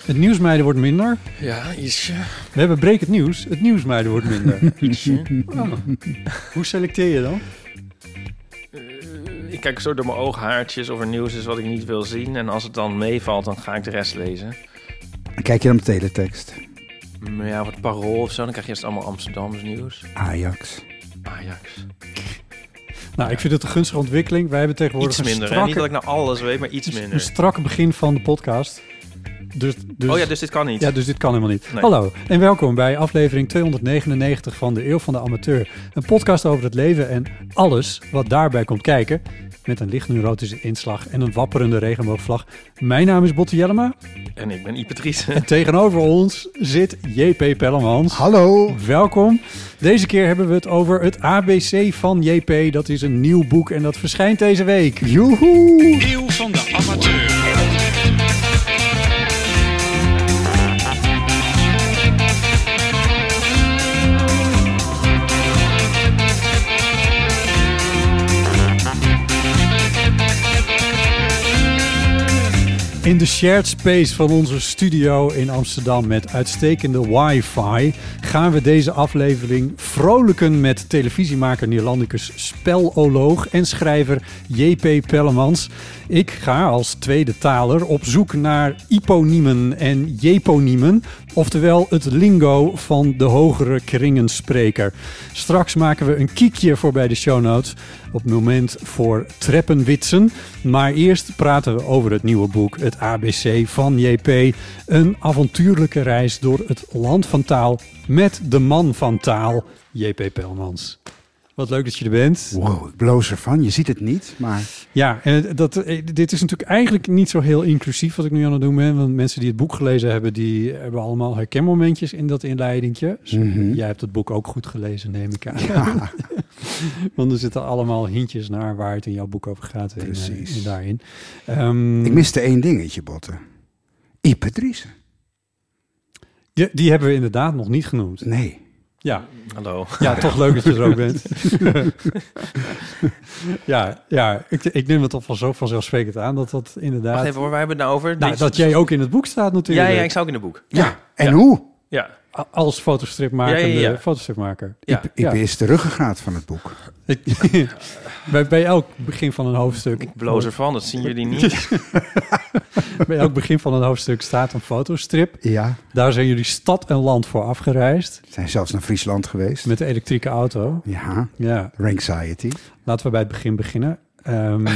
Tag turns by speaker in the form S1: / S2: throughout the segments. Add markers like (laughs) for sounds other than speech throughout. S1: Het nieuwsmeiden wordt minder.
S2: Ja, ietsje.
S1: We hebben breek het nieuws. Het nieuwsmeiden wordt minder. Ah. Hoe selecteer je dan?
S2: Ik kijk zo door mijn ooghaartjes of er nieuws is wat ik niet wil zien. En als het dan meevalt, dan ga ik de rest lezen.
S3: Kijk je dan op teletext?
S2: Maar ja, wat parool of zo. Dan krijg je eerst allemaal Amsterdams nieuws.
S3: Ajax.
S2: Ajax.
S1: Nou, ik vind het een gunstige ontwikkeling. Wij hebben tegenwoordig
S2: Iets minder.
S1: een,
S2: Hè? Niet dat
S1: strakke,
S2: ik nou alles weet, maar iets
S1: een
S2: minder.
S1: strak begin van de podcast. Dus, dus,
S2: Oh ja, dus dit kan niet.
S1: ja, dus dit kan helemaal niet.
S2: Nee.
S1: Hallo en welkom bij aflevering 299 van De Eeuw van de Amateur. Een podcast over het leven en alles wat daarbij komt kijken. Met een licht neurotische inslag en een wapperende regenboogvlag. Mijn naam is Botte Jellema.
S2: En ik ben Ipatrice.
S1: En tegenover ons zit JP Pellemans.
S3: Hallo.
S1: Welkom. Deze keer hebben we het over het ABC van JP. Dat is een nieuw boek en dat verschijnt deze week.
S3: Joehoe.
S1: In de shared space van onze studio in Amsterdam met uitstekende wifi gaan we deze aflevering vrolijken met televisiemaker Nederlandicus speloloog en schrijver JP Pellemans. Ik ga als tweede taler op zoek naar hyponiemen en jeponiemen, oftewel het lingo van de hogere kringenspreker. Straks maken we een kiekje voor bij de show notes op het moment voor treppenwitsen. Maar eerst praten we over het nieuwe boek, het ABC van JP. Een avontuurlijke reis door het land van taal met de man van taal, JP Pelmans. Wat leuk dat je er bent.
S3: Wow, ik bloos ervan. Je ziet het niet, maar...
S1: Ja, en het- dat, eh, dit is natuurlijk eigenlijk niet zo heel inclusief wat ik nu aan het doen ben. Want mensen die het boek gelezen hebben, die hebben allemaal herkenmomentjes in dat inleidingje. Dus
S3: Mhm.
S1: Jij hebt het boek ook goed gelezen, neem ik aan.
S3: Ja.
S1: (laughs) Want er zitten allemaal hintjes naar waar het in jouw boek over gaat. en, eh,
S3: Precies.
S1: en daarin. Ehm,
S3: Ik miste één dingetje, Botte. Ipatrice.
S1: die, die hebben we inderdaad nog niet genoemd.
S3: Nee.
S1: Ja,
S2: Hallo.
S1: ja toch leuk dat je er ook bent. ja, ja ik, ik neem het alvast zo vanzelfsprekend aan dat dat
S2: Wacht
S1: inderdaad...
S2: even hoor, waar hebben we het nou over?
S1: nou,
S2: Dit-
S1: dat jij ook in het boek staat
S2: Ja,
S1: natuurlijk.
S2: ja, ik sta ook in het boek.
S3: Ja, en
S2: Ja.
S3: hoe?
S2: Ja.
S1: A- Als fotostripmaker,
S2: Ja, ja, ja.
S1: fotostripmaker.
S2: ja.
S3: Ik
S1: Ja.
S3: is de ruggengraat van het boek.
S1: Ik- (laughs) bij, bij elk begin van een hoofdstuk.
S2: Ik bloos ervan, dat zien jullie niet.
S1: (laughs) Bij elk begin van een hoofdstuk staat een fotostrip.
S3: Ja.
S1: Daar zijn jullie stad en land voor afgereisd.
S3: We zijn zelfs naar Friesland geweest.
S1: Met de elektrische auto.
S3: Ja.
S1: Ja,
S3: Ranxiety.
S1: laten we bij het begin beginnen. Ehm,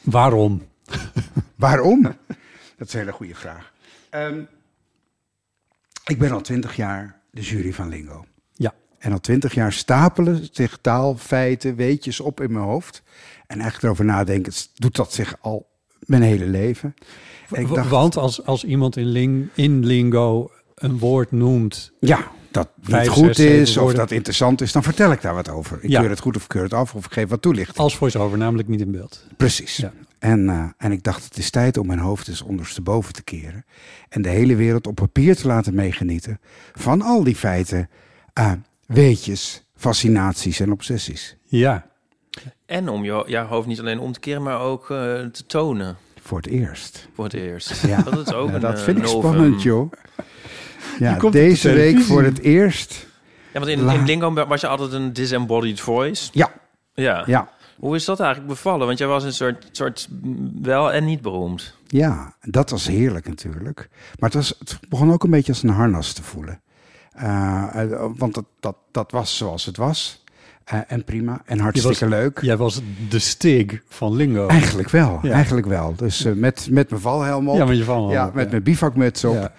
S1: waarom? (laughs)
S3: Waarom? Dat is een hele goede vraag. Ehm, ik ben al twintig jaar de jury van Lingo.
S1: Ja.
S3: En al twintig jaar stapelen zich taalfeiten, weetjes op in mijn hoofd. En eigenlijk erover nadenken, het doet dat zich al mijn hele leven. En ik
S1: W-
S3: dacht,
S1: Want als, als iemand in, ling, in lingo een woord noemt.
S3: ja, dat niet
S1: Vijf,
S3: goed
S1: zes, zeven
S3: is of
S1: woorden.
S3: dat interessant is, dan vertel ik daar wat over. Ik
S1: Ja.
S3: keur het goed of ik keur het af of ik geef wat toelichting.
S1: als voice-over, namelijk niet in beeld.
S3: Precies.
S1: Ja.
S3: En, eh, en ik dacht, het is tijd om mijn hoofd eens ondersteboven te keren. En de hele wereld op papier te laten meegenieten van al die feiten, eh, weetjes, fascinaties en obsessies.
S1: Ja,
S2: En om je ja, hoofd niet alleen om te keren, maar ook eh, te tonen
S3: Voor het eerst.
S2: voor het eerst. (laughs)
S3: Ja.
S2: Dat is ook
S3: Ja,
S2: een
S3: dat
S2: eh,
S3: vind ik
S2: novum.
S3: spannend, joh.
S1: Die
S3: Ja,
S1: komt op de
S3: deze week
S1: televisie.
S3: voor het eerst.
S2: Ja, want in,
S3: La-
S2: in Lingo was je altijd een disembodied voice.
S3: Ja,
S2: Ja.
S3: ja.
S2: Hoe is dat eigenlijk bevallen? Want jij was een soort, soort mm, wel en niet beroemd.
S3: Ja, dat was heerlijk natuurlijk. Maar het, was, het begon ook een beetje als een harnas te voelen. Eh, eh, want dat, dat, dat was zoals het was. Eh, en prima. En hartstikke
S1: Je was-
S3: leuk.
S1: Jij was de stig van Lingo.
S3: Eigenlijk wel,
S1: Ja.
S3: eigenlijk wel. Dus eh, met, met mijn valhelm op.
S1: (laughs) Ja, met je valhelm
S3: Ja,
S1: op,
S3: met
S1: ja.
S3: mijn bivakmuts op.
S1: Ja.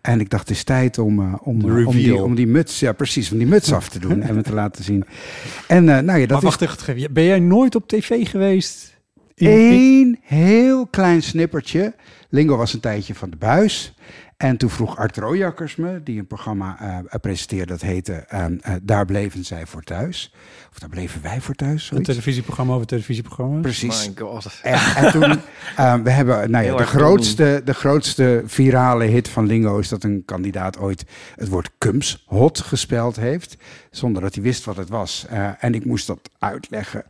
S3: En ik dacht, het is tijd om, eh, om,
S1: De
S3: eh, om, die,
S1: reveal.
S3: om die muts, ja precies, om die muts af te doen en me te laten zien. En eh, nou ja, dat
S1: maar wacht
S3: is
S1: even, ben jij nooit op tv geweest? In- in-
S3: één heel klein snippertje. Lingo was een tijdje van de buis. En toen vroeg Art Rooijakkers me, die een programma eh, presenteerde dat heette ehm, eh, Daar bleven zij voor thuis. Of daar bleven wij voor thuis.
S1: Een
S3: zoiets.
S1: televisieprogramma over televisieprogramma's?
S3: Precies.
S2: My god.
S3: En, en
S2: (laughs)
S3: toen, eh, we hebben, nou ja,
S2: Heel
S3: de
S2: erg
S3: grootste, de grootste virale hit van Lingo is dat een kandidaat ooit het woord Cums hot gespeld heeft, zonder dat hij wist wat het was. Eh, en ik moest dat uitleggen.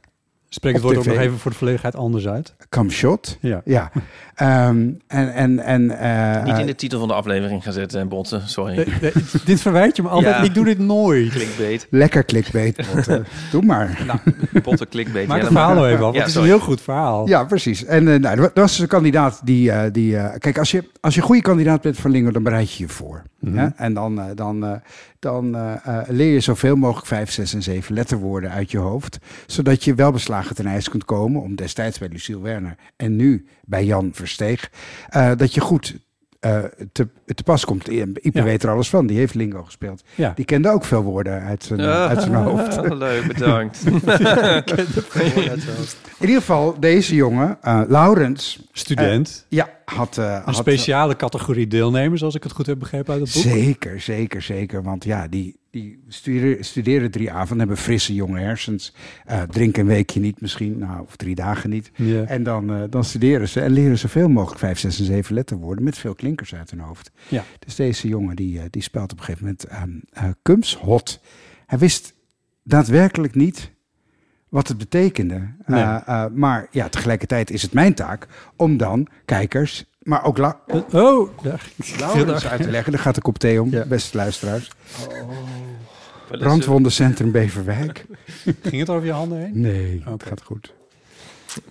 S1: Spreek het
S3: op
S1: woord ook
S3: tv.
S1: nog even voor de volledigheid anders uit.
S3: Cumshot.
S1: Ja.
S3: Ja. Ehm, en, en, en, eh,
S2: Niet in de titel van de aflevering gaan zetten, botten. Sorry.
S1: Nee, nee, dit verwijt je me altijd.
S2: Ja.
S1: Ik doe dit nooit.
S2: Clickbait.
S3: lekker clickbait.
S2: (laughs)
S3: botten. Doe maar.
S2: Botten clickbait.
S1: Maak
S2: Ja,
S1: het verhaal
S2: dat-
S1: nog even af.
S2: Ja,
S1: Het is een
S2: sorry.
S1: heel goed verhaal.
S3: Ja, precies. En eh, nou, er was een kandidaat die... eh, die eh, kijk, als je, als je een goede kandidaat bent van Lingo, dan bereid je je voor.
S1: Mhm.
S3: hè? En dan, eh, dan, eh, dan eh, eh, leer je zoveel mogelijk vijf, zes en zeven letterwoorden uit je hoofd. Zodat je wel beslagen ten ijs kunt komen, om destijds bij Lucille Werner en nu bij Jan Versteeg, eh, dat je goed... eh, te, te pas komt. Ipe
S1: Ja.
S3: weet er alles van. Die heeft Lingo gespeeld.
S1: Ja.
S3: Die kende ook veel woorden uit zijn, uit
S1: (laughs)
S3: zijn hoofd.
S2: Ah, leuk, (laughs) bedankt.
S3: In ieder geval, deze jongen, eh, Laurens,
S1: Student.
S3: ja, had... eh,
S1: Een
S3: had-
S1: speciale categorie deelnemers, als ik het goed heb begrepen uit het boek.
S3: Zeker, zeker, zeker. Want ja, die, die studeren, studeren drie avonden, hebben frisse jonge hersens. Eh drinken een weekje niet misschien, nou, of drie dagen niet.
S1: Ja.
S3: En dan, eh, dan studeren ze en leren zoveel mogelijk vijf, zes en zeven letterwoorden met veel klinkers uit hun hoofd.
S1: Ja.
S3: Dus deze jongen die, eh, die speelt op een gegeven moment aan eh Kums Hot. Hij wist daadwerkelijk niet wat het betekende. Eh,
S1: Nee.
S3: eh, maar ja, tegelijkertijd is het mijn taak om dan kijkers, maar ook la-
S1: Oh, daar ging Heel
S3: Laurens uit te leggen. Daar gaat de kop thee om,
S1: Ja.
S3: beste luisteraars.
S2: Oh.
S3: Brandwondencentrum Beverwijk.
S1: ging het over je handen heen?
S3: Nee, het
S1: Oké.
S3: gaat goed.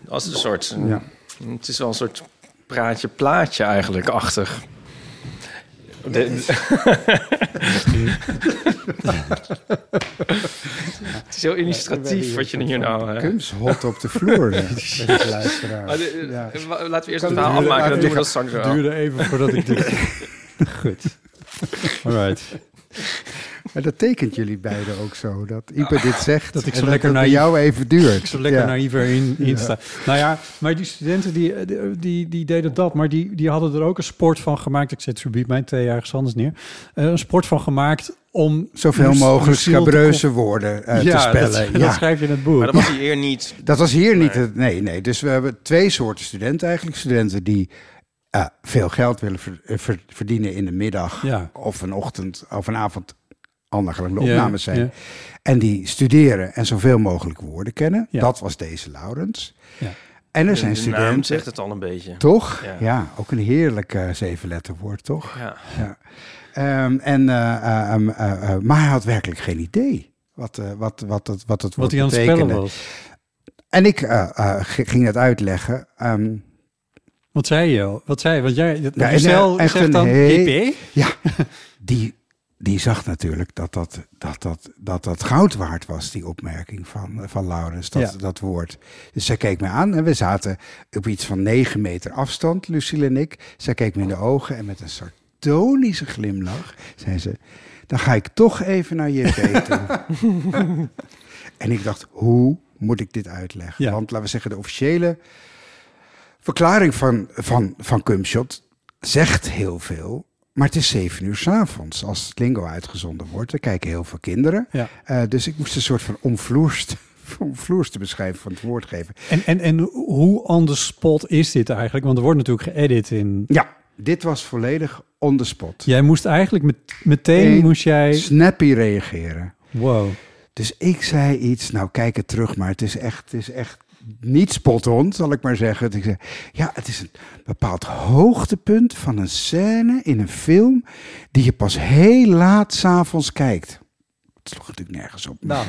S2: Als een soort...
S3: Ja.
S2: Het is wel een soort praatje plaatje eigenlijk achter. (laughs) het is heel illustratief wat je hier nou... eh.
S3: Kums hot op de
S2: (laughs)
S3: vloer, eh, beste luisteraars.
S2: Maar de-
S3: Ja.
S2: eh, wa- Laten we eerst
S3: Kan
S2: het verhaal
S3: het duren?
S2: afmaken, dan doen we dat
S3: Het
S2: straks
S1: Het
S2: wel.
S1: duurde even voordat ik dit... (laughs) Goed. Alright.
S3: Maar dat tekent jullie beiden ook zo. Dat Ipe dit zegt
S1: Dat ik zo
S3: en
S1: lekker
S3: dat het bij
S1: naïef-
S3: jou even duurt.
S1: Ik zo lekker
S3: Ja.
S1: naïver in, in sta. Nou ja, maar die studenten die, eh, die, die, die deden dat. Maar die, die hadden er ook een sport van gemaakt. Ik zet subiet mijn thee ergens anders neer. Eh, een sport van gemaakt om...
S3: Zoveel
S1: Luc-
S3: mogelijk
S1: Lucille te
S3: schabreuze woorden eh,
S1: kon-
S3: te
S1: Ja, dat,
S3: spellen.
S1: (laughs) dat
S3: ja.
S1: schrijf je in het boek.
S2: Maar dat was hij eer niet.
S3: Dat was hier niet het. Nee, nee. Dus we hebben twee soorten studenten eigenlijk. Studenten die eh, veel geld willen ver- eh, ver- verdienen in de middag
S1: Ja.
S3: of een ochtend of een avond. Ander gelang de
S1: Ja,
S3: opnames zijn.
S1: ja.
S3: En die studeren en zoveel mogelijk woorden kennen.
S1: Ja.
S3: Dat was deze Laurens.
S1: Ja.
S3: En er
S2: De
S3: zijn
S2: naam
S3: studenten.
S2: zegt het al een beetje.
S3: Toch? Ja.
S2: Ja.
S3: ook een heerlijk eh, zevenletterwoord, toch?
S2: Ja.
S3: Ehm, en, eh, eh, ehm, eh, eh, maar hij had werkelijk geen idee wat, eh, wat, wat, het- wat het woord
S1: Wat hij aan het
S3: betekende.
S1: spellen was.
S3: En ik eh, eh, g- ging het uitleggen. Ehm,
S1: Wat zei je? Wat zei je? Want jij... dat-
S3: Ja,
S1: Lucille
S3: en- eh, echt een
S1: zegt dan...
S3: heel-
S1: hippie?
S3: ja, (laughs) die, die zag natuurlijk dat dat, dat, dat, dat dat goud waard was, die opmerking van, van Laurens, dat,
S1: Ja.
S3: dat woord. Dus zij keek me aan en we zaten op iets van negen meter afstand, Lucille en ik. Zij keek me in de ogen en met een sardonische glimlach zei ze... dan ga ik toch even naar
S1: (laughs)
S3: JP toe. en ik dacht, hoe moet ik dit uitleggen?
S1: Ja.
S3: Want laten we zeggen, de officiële verklaring van, van, van Cumshot zegt heel veel. Maar het is zeven uur s'avonds als het lingo uitgezonden wordt. Er kijken heel veel kinderen.
S1: Ja.
S3: Eh, dus ik moest een soort van (laughs) omvloerst, omvloerste beschrijven van het woord geven.
S1: En, en, en hoe on the spot is dit eigenlijk? Want er wordt natuurlijk geëdit in...
S3: Ja, dit was volledig on the spot.
S1: Jij moest eigenlijk met, meteen...
S3: Eén
S1: moest jij...
S3: Snappy reageren.
S1: Wow.
S3: Dus ik zei iets, nou kijk het terug, maar het is echt, het is echt niet spot-on, zal ik maar zeggen. Dus Ik zei, ja, het is een bepaald hoogtepunt van een scène in een film die je pas heel laat s'avonds kijkt. sloeg natuurlijk nergens op.
S1: Nou.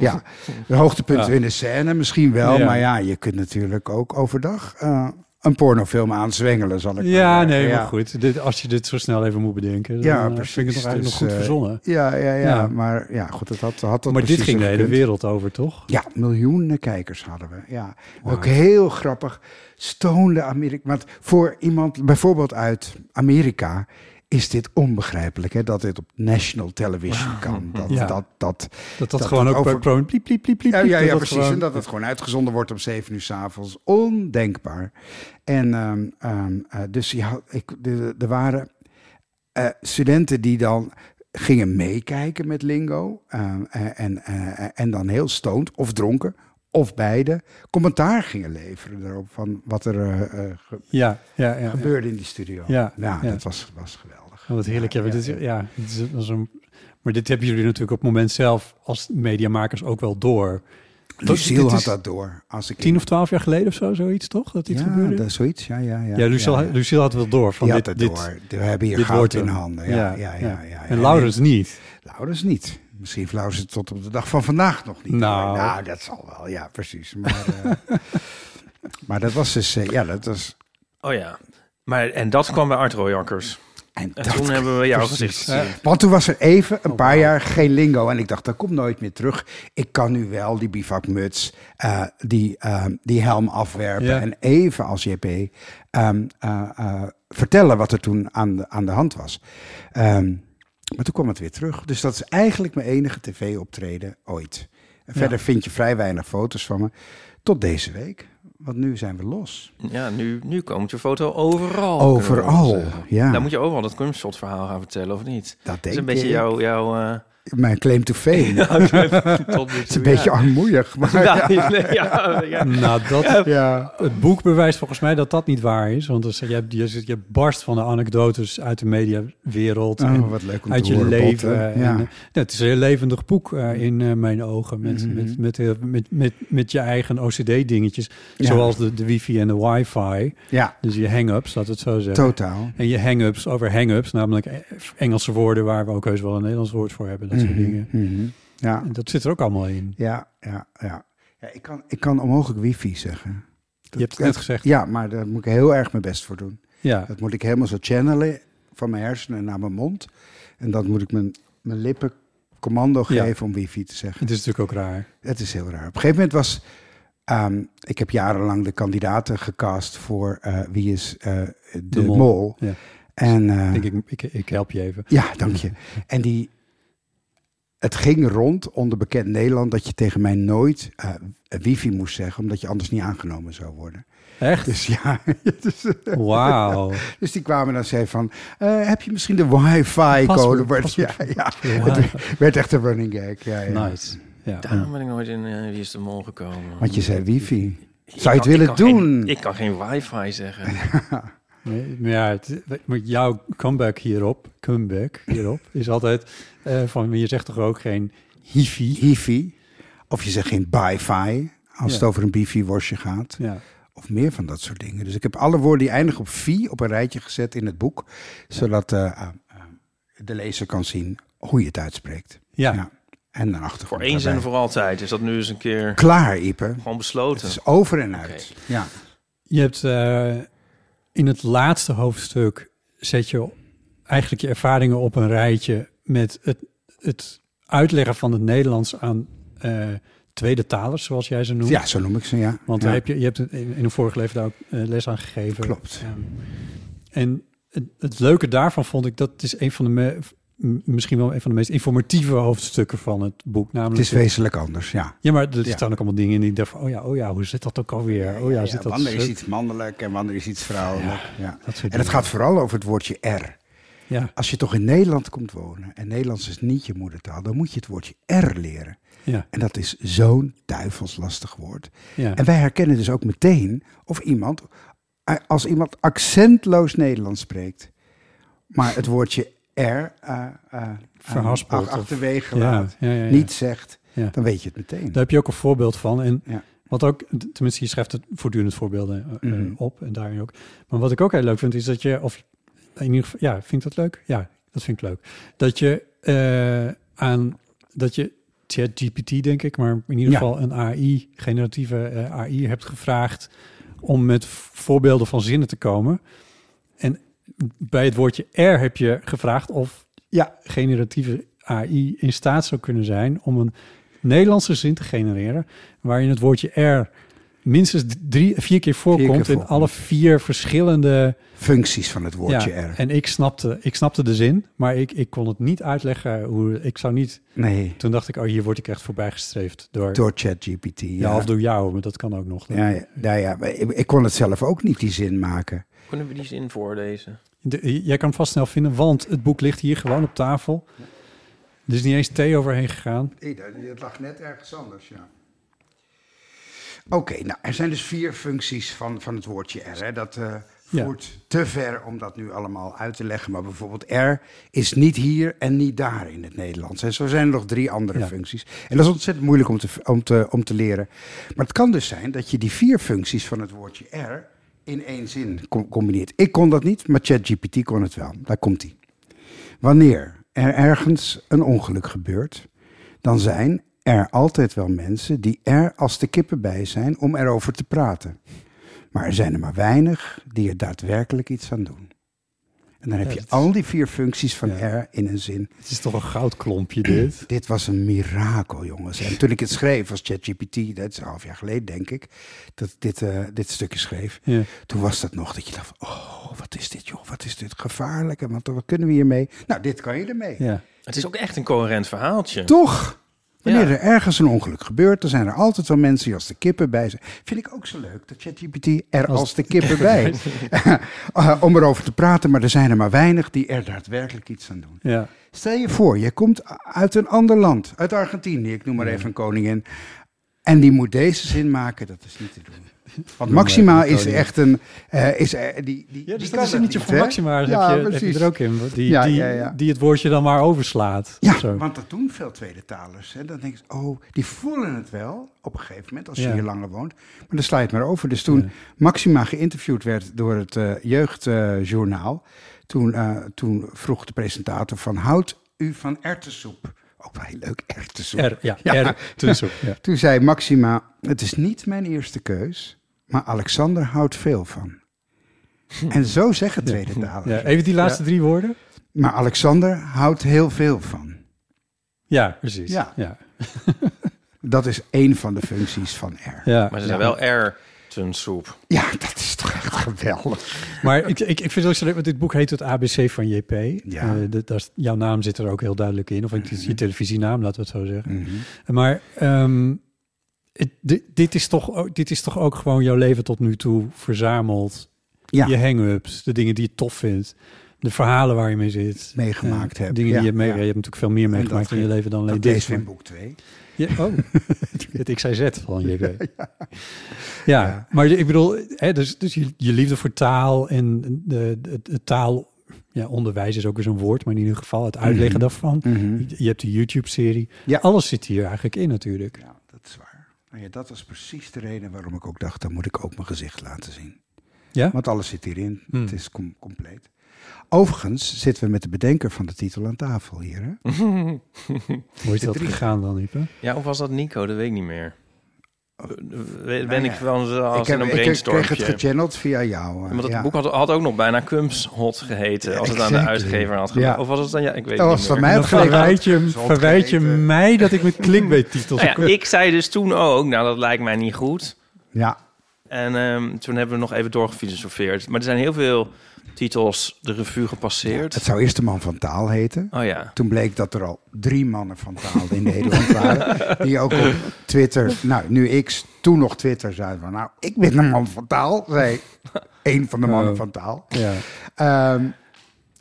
S3: Ja, de hoogtepunten
S1: Ja.
S3: in de scène misschien wel.
S1: Ja.
S3: Maar ja, je kunt natuurlijk ook overdag eh, een pornofilm aanzwengelen, zal ik maar
S1: Ja,
S3: zeggen.
S1: nee,
S3: Ja.
S1: maar goed. Dit, als je dit zo snel even moet bedenken, dan
S3: Ja,
S1: eh,
S3: precies.
S1: vind ik het toch eigenlijk
S3: Dus,
S1: nog goed
S3: eh,
S1: verzonnen.
S3: Ja, ja, ja,
S1: Ja.
S3: Maar ja, goed, dat had, had dat
S1: maar dit
S3: precies
S1: ging de
S3: zo
S1: hele
S3: gekund.
S1: wereld over, toch?
S3: Ja, miljoenen kijkers hadden we. Ja. Ook heel grappig. Stoonde Amerika. Want voor iemand bijvoorbeeld uit Amerika is dit onbegrijpelijk. Hè? Dat dit op national television kan. Dat
S1: Ja.
S3: dat, dat, dat,
S1: Dat dat, gewoon ook
S3: over-
S1: per pro- pliep, pliep, pliep, pliep,
S3: ja,
S1: pliep,
S3: ja,
S1: dat
S3: ja
S1: dat
S3: precies.
S1: gewoon-
S3: En dat het gewoon uitgezonden wordt om 7 uur s'avonds. Ondenkbaar. En ehm, ehm, eh, dus je had, ik, de- er waren eh, studenten die dan gingen meekijken met Lingo. ehm, eh, en, eh, en dan heel stoned of dronken of beide commentaar gingen leveren erop van wat er eh, eh, ge-
S1: Ja, ja, ja.
S3: gebeurde in die studio.
S1: Ja,
S3: nou,
S1: ja.
S3: dat was, was geweldig.
S1: Ja, wat heerlijk. Ja, maar dit, is- ja, dit is, dat is een, maar dit hebben jullie natuurlijk op het moment zelf als mediamakers ook wel door. Dat-
S3: Lucille
S1: dit
S3: had
S1: is
S3: dat door. Als ik
S1: Tien of twaalf jaar geleden of zo, zoiets toch? Dat dit
S3: ja,
S1: gebeurde?
S3: dat, zoiets. Ja, ja, ja.
S1: ja, Lucille,
S3: Ja, ja.
S1: Lucille had wel door. Van
S3: Die
S1: dit,
S3: had het
S1: dit,
S3: door. We hebben hier
S1: dit
S3: goud
S1: wordt
S3: in
S1: hem.
S3: handen. Ja, ja, ja, ja, ja.
S1: En Laurens niet.
S3: Laurens niet. Misschien heeft Laurens het tot op de dag van vandaag nog niet.
S1: Nou.
S3: nou dat zal wel. Ja, precies. Maar,
S1: (laughs)
S3: eh, maar dat was dus... eh, ja, dat was...
S2: Oh ja. Maar, en dat kwam bij Art Royakkers.
S3: En,
S2: En
S3: dat-
S2: toen eh, hebben we jouw
S3: precies.
S2: gezicht gezien.
S3: Want toen was er even een paar jaar geen lingo. En ik dacht, dat komt nooit meer terug. Ik kan nu wel die bivakmuts, eh, die, eh, die helm afwerpen.
S1: Ja.
S3: En even als JP ehm, eh, eh, vertellen wat er toen aan de, aan de hand was. Ehm, maar toen kwam het weer terug. Dus dat is eigenlijk mijn enige tv-optreden ooit. En verder vind je vrij weinig foto's van me. Tot deze week. Want nu zijn we los.
S2: Ja, nu, nu komt je foto overal.
S3: Overal,
S2: kunnen we wel zeggen.
S3: ja.
S2: Dan moet je overal dat cumshot verhaal gaan vertellen, of niet?
S3: Dat
S2: is
S3: denk
S2: een beetje
S3: ik.
S2: jouw... jouw eh,
S3: Mijn claim to fame. (laughs)
S2: tot nu toe,
S3: Het is een beetje armoeig.
S1: (laughs)
S3: Maar
S2: Ja, ja, ja, ja.
S1: Nou, dat,
S3: ja.
S1: Het boek bewijst volgens mij dat dat niet waar is. Want als je, hebt, je, zit- je barst van de anekdotes uit de mediawereld.
S3: Oh,
S1: en
S3: wat leuk om
S1: uit
S3: te
S1: je
S3: horen, Bob,
S1: leven.
S3: hè?
S1: en,
S3: Ja.
S1: eh, nou, het is een heel levendig boek eh, in eh, mijn ogen. Met,
S3: Mhm.
S1: met, met, heel- met, met, met je eigen OCD-dingetjes.
S3: Ja.
S1: Zoals de, de wifi en de wifi.
S3: ja,
S1: Dus je hang-ups, laat het zo zeggen.
S3: totaal.
S1: En je hang-ups over hang-ups. Namelijk eh, Engelse woorden waar we ook heus wel een Nederlands woord voor hebben. Dat soort dingen.
S3: Mhm. Ja,
S1: En dat zit er ook allemaal in.
S3: ja, ja, ja. ja ik, kan, ik kan onmogelijk wifi zeggen.
S1: Je hebt het net gezegd.
S3: Ja, maar daar moet ik heel erg mijn best voor doen.
S1: Ja.
S3: Dat moet ik helemaal zo channelen van mijn hersenen naar mijn mond. En dan moet ik mijn, mijn lippen commando
S1: Ja.
S3: geven om wifi te zeggen.
S1: Het is natuurlijk ook raar.
S3: Het is heel raar. Op een gegeven moment was... ehm, ik heb jarenlang de kandidaten gecast voor eh, Wie is eh, de,
S1: Mol.
S3: mol.
S1: Ja.
S3: En, eh,
S1: Denk ik, ik, ik help je even.
S3: Ja, dank je. En die, het ging rond onder bekend Nederland dat je tegen mij nooit eh, wifi moest zeggen, omdat je anders niet aangenomen zou worden.
S1: Echt? (laughs)
S3: Dus ja, dus,
S1: Wauw.
S3: dus die kwamen dan zei van, eh, heb je misschien de wifi-code?
S1: Paswoord,
S3: Ja,
S1: paswoord.
S3: ja.
S1: Wauw.
S3: Het werd echt een running gag. Ja, ja.
S1: Nice. Ja.
S2: Daarom ben ik nooit in eh, Wie is de Mol gekomen.
S3: Want je zei wifi.
S2: Ik
S3: Zou je
S2: kan-
S3: het willen
S2: ik kan geen-
S3: doen?
S2: ik kan geen wifi zeggen.
S1: Nee, maar ja, het, maar jouw comeback hierop, comeback hierop, is altijd eh, van, je zegt toch ook geen hifi?
S3: Hifi. Of je zegt geen bifi, als
S1: Ja.
S3: het over een bifi-wasje gaat.
S1: Ja.
S3: Of meer van dat soort dingen. Dus ik heb alle woorden die eindigen op vi op een rijtje gezet in het boek. Zodat eh, ah, ah, de lezer kan zien hoe je het uitspreekt.
S1: Ja.
S3: En dan achtergrond.
S2: Voor eens en
S3: daarbij.
S2: voor altijd. Is dat nu eens een keer
S3: Klaar, Ipe.
S2: gewoon
S3: Het
S2: besloten?
S3: is over en uit. Ja.
S1: Je hebt eh, in het laatste hoofdstuk zet je eigenlijk je ervaringen op een rijtje met het, het uitleggen van het Nederlands aan eh, tweede talers, zoals jij ze noemt.
S3: ja, zo noem ik ze, ja.
S1: Want
S3: Ja.
S1: daar heb je, je hebt in, in een vorige leven daar ook eh, les aan gegeven.
S3: Klopt.
S1: Ehm, en het, het leuke daarvan vond ik dat het is een van de me- m- misschien wel een van de meest informatieve hoofdstukken van het boek. Namelijk
S3: Het is wezenlijk anders, ja.
S1: ja, maar er
S3: Ja.
S1: staan ook allemaal dingen in die ik dacht van, oh ja, oh ja, hoe zit dat ook alweer? Oh ja, zit dat
S3: wanneer is
S1: zo?
S3: iets mannelijk en wanneer is iets vrouwelijk. Ja.
S1: dat soort
S3: En het
S1: dingen.
S3: gaat vooral over het woordje er.
S1: Ja,
S3: Als je toch in Nederland komt wonen en Nederlands is niet je moedertaal, dan moet je het woordje er leren.
S1: ja,
S3: En dat is zo'n duivels lastig woord.
S1: ja.
S3: En wij herkennen dus ook meteen of iemand, eh, als iemand accentloos Nederlands spreekt, maar het woordje er eh, eh,
S1: Verhaspelt of-
S3: achterwege
S1: Ja,
S3: laat,
S1: ja, ja, ja.
S3: niet zegt,
S1: Ja.
S3: dan weet je het meteen.
S1: Daar heb je ook een voorbeeld van. En
S3: Ja.
S1: wat ook, tenminste, je schrijft het voortdurend voorbeelden eh, eh,
S3: Mhm.
S1: op en daarin ook. Maar wat ik ook heel leuk vind, is dat je, of in ieder geval, ja, vind ik dat leuk? Ja, dat vind ik leuk. Dat je eh, aan dat je ChatGPT, denk ik, maar in ieder
S3: Ja.
S1: geval een AI, generatieve eh, AI, hebt gevraagd om met voorbeelden van zinnen te komen. En bij het woordje R heb je gevraagd of ja, generatieve AI in staat zou kunnen zijn om een Nederlandse zin te genereren waarin het woordje R minstens drie, vier keer voorkomt in
S3: voorkomt.
S1: alle vier verschillende
S3: Functies van het woordje
S1: ja,
S3: R.
S1: En ik snapte, ik snapte de zin, maar ik, ik kon het niet uitleggen hoe. Ik zou niet.
S3: Nee.
S1: Toen dacht ik, oh, hier word ik echt voorbijgestreefd door.
S3: Door ChatGPT.
S1: ja. of door jou, maar dat kan ook nog.
S3: Ja, ja, nou ja, maar ik, ik kon het zelf ook niet die zin maken.
S2: Kunnen we die zin voorlezen?
S1: De- jij kan hem vast snel vinden, want het boek ligt hier gewoon op tafel. Er is niet eens thee overheen gegaan.
S3: Het lag net ergens anders, ja. Oké, nou, er zijn dus vier functies van, van het woordje R. Hè. Dat eh,
S1: Ja.
S3: voert te ver om dat nu allemaal uit te leggen. Maar bijvoorbeeld R is niet hier en niet daar in het Nederlands. En zo zijn er nog drie andere
S1: Ja.
S3: functies. En dat is ontzettend moeilijk om te, om, te, om te leren. Maar het kan dus zijn dat je die vier functies van het woordje R in één zin com- combineert. Ik kon dat niet, maar ChatGPT kon het wel. Daar komt hij. Wanneer er ergens een ongeluk gebeurt, dan zijn er altijd wel mensen die er als de kippen bij zijn om erover te praten. Maar er zijn er maar weinig die er daadwerkelijk iets aan doen. En dan heb
S1: Ja,
S3: je
S1: dat is-
S3: al die vier functies van
S1: Ja.
S3: R in een zin.
S1: Het is toch een goudklompje dit.
S3: Dit was een mirakel, jongens. En toen ik het schreef als ChatGPT, dat is een half jaar geleden, denk ik, dat ik dit, eh, dit stukje schreef.
S1: Ja.
S3: Toen was dat nog dat je dacht: oh, wat is dit, joh? Wat is dit gevaarlijk? En wat, wat kunnen we hiermee? Nou, dit kan je ermee.
S1: Ja.
S2: Het is ook echt een coherent verhaaltje.
S3: Toch? Wanneer
S2: Ja.
S3: er ergens een ongeluk gebeurt, dan zijn er altijd wel mensen die als de kippen bij zijn. Vind ik ook zo leuk dat ChatGPT er als,
S1: Als
S3: de kippen bij (laughs) Eh, om erover te praten, maar er zijn er maar weinig die er daadwerkelijk iets aan doen.
S1: Ja.
S3: Stel je voor, je komt uit een ander land, uit Argentinië, ik noem maar even een koningin. En die moet deze zin maken, dat is niet te
S1: (laughs)
S3: doen. Want Maxima
S1: even een
S3: is
S1: koningin.
S3: echt een. eh, is, eh, die, die,
S1: Ja,
S3: die
S1: dus
S3: kan
S1: dat is een liedje van
S3: hè?
S1: Maxima.
S3: Ja,
S1: heb, je, heb je
S3: precies.
S1: er ook in. Die,
S3: Ja,
S1: die,
S3: ja, ja.
S1: die het woordje dan maar overslaat.
S3: Ja,
S1: of zo.
S3: want dat doen veel tweede talers. Hè. Dan denk je, oh, die voelen het wel op een gegeven moment als je
S1: Ja.
S3: hier langer woont. Maar dan sla je het maar over. Dus toen Maxima geïnterviewd werd door het eh, jeugdjournaal, toen, eh, toen vroeg de presentator van, houdt u van erwtensoep? Ook wel heel leuk, erwtensoep.
S1: R, ja, R, tussenop, ja.
S3: Toen zei Maxima, het is niet mijn eerste keus, maar Alexander houdt veel
S1: (laughs)
S3: van. En zo zeggen tweede talers.
S1: Ja, even die laatste drie woorden.
S3: Maar Alexander houdt heel veel van.
S1: Ja, precies.
S3: Ja.
S1: ja.
S3: Dat is één van de functies van R.
S1: ja.
S2: Maar ze zijn wel R. ten soep.
S3: Ja, dat is toch echt geweldig.
S1: Maar ik, ik, ik vind het ook zo leuk, want dit boek heet het ABC van JP.
S3: Ja.
S1: Eh, dat, daar is- jouw naam zit er ook heel duidelijk in. Of het is je televisienaam, laten we het zo zeggen. Maar ehm, het- di- dit, is toch ook, dit is toch ook gewoon jouw leven tot nu toe verzameld.
S3: Ja.
S1: Je hang-ups, de dingen die je tof vindt. De verhalen waar je mee zit.
S3: Meegemaakt
S1: Eh,
S3: hebt,
S1: Dingen
S3: ja,
S1: die je mee...
S3: ja.
S1: Je hebt natuurlijk veel meer meegemaakt
S3: dat-
S1: in je leven dan alleen
S3: Dat
S1: dit.
S3: is
S1: maar-
S3: in boek 2.
S1: ja,
S3: (laughs)
S1: oh, (laughs) het ik zei Z van JP. Ja, maar ik bedoel, hè, dus, dus je, je liefde voor taal en de, de- het taal... Ja, onderwijs is ook weer zo'n woord, maar in ieder geval het uitleggen daarvan. Je, je hebt de YouTube-serie.
S3: Mhm. Ja.
S1: Alles zit hier eigenlijk in natuurlijk.
S3: Ja, dat is waar. Nou ja, dat was precies de reden waarom ik ook dacht, dan moet ik ook mijn gezicht laten zien.
S1: Ja? Hmm.
S3: Want alles zit hierin. Het is com- compleet. Overigens zitten we met de bedenker van de titel aan tafel hier. Hè?
S1: Hoe is dat gegaan dan, Ipe?
S2: Ja, of was dat Nico? Dat weet ik niet meer. Ben ik
S3: ja.
S2: van zo- als in een
S3: ik kreeg
S2: brainstormpje.
S3: het gechanneld via jou. eh,
S2: Want het
S3: ja.
S2: boek had, had ook nog bijna Cums (laughs) Hot geheten. Als het aan de
S3: exactly.
S2: uitgever had gedaan.
S3: Ja.
S2: Of was het dan... Ja, ik weet
S3: Dat
S2: het
S3: was
S2: niet
S3: van
S2: meer.
S3: mij
S1: Dan
S3: had geleverd.
S1: verwijt je, verwijt je
S3: Zondgeten.
S1: mij dat ik met clickbait-titels...
S2: Nou ja, ik zei dus toen ook, nou dat lijkt mij niet goed.
S3: Ja,
S2: En ehm, toen hebben we nog even doorgefilosofeerd. Maar er zijn heel veel titels de revue
S3: het
S2: gepasseerd.
S3: zou eerst de man van taal heten.
S2: Oh ja.
S3: Toen bleek dat er al drie mannen van taal in Nederland waren. Die ook op Twitter, nou nu X, toen nog Twitter, zeiden van... Nou, ik ben een man van taal, zei één van de mannen
S1: Oh.
S3: van taal.
S1: Ja.
S3: Ehm,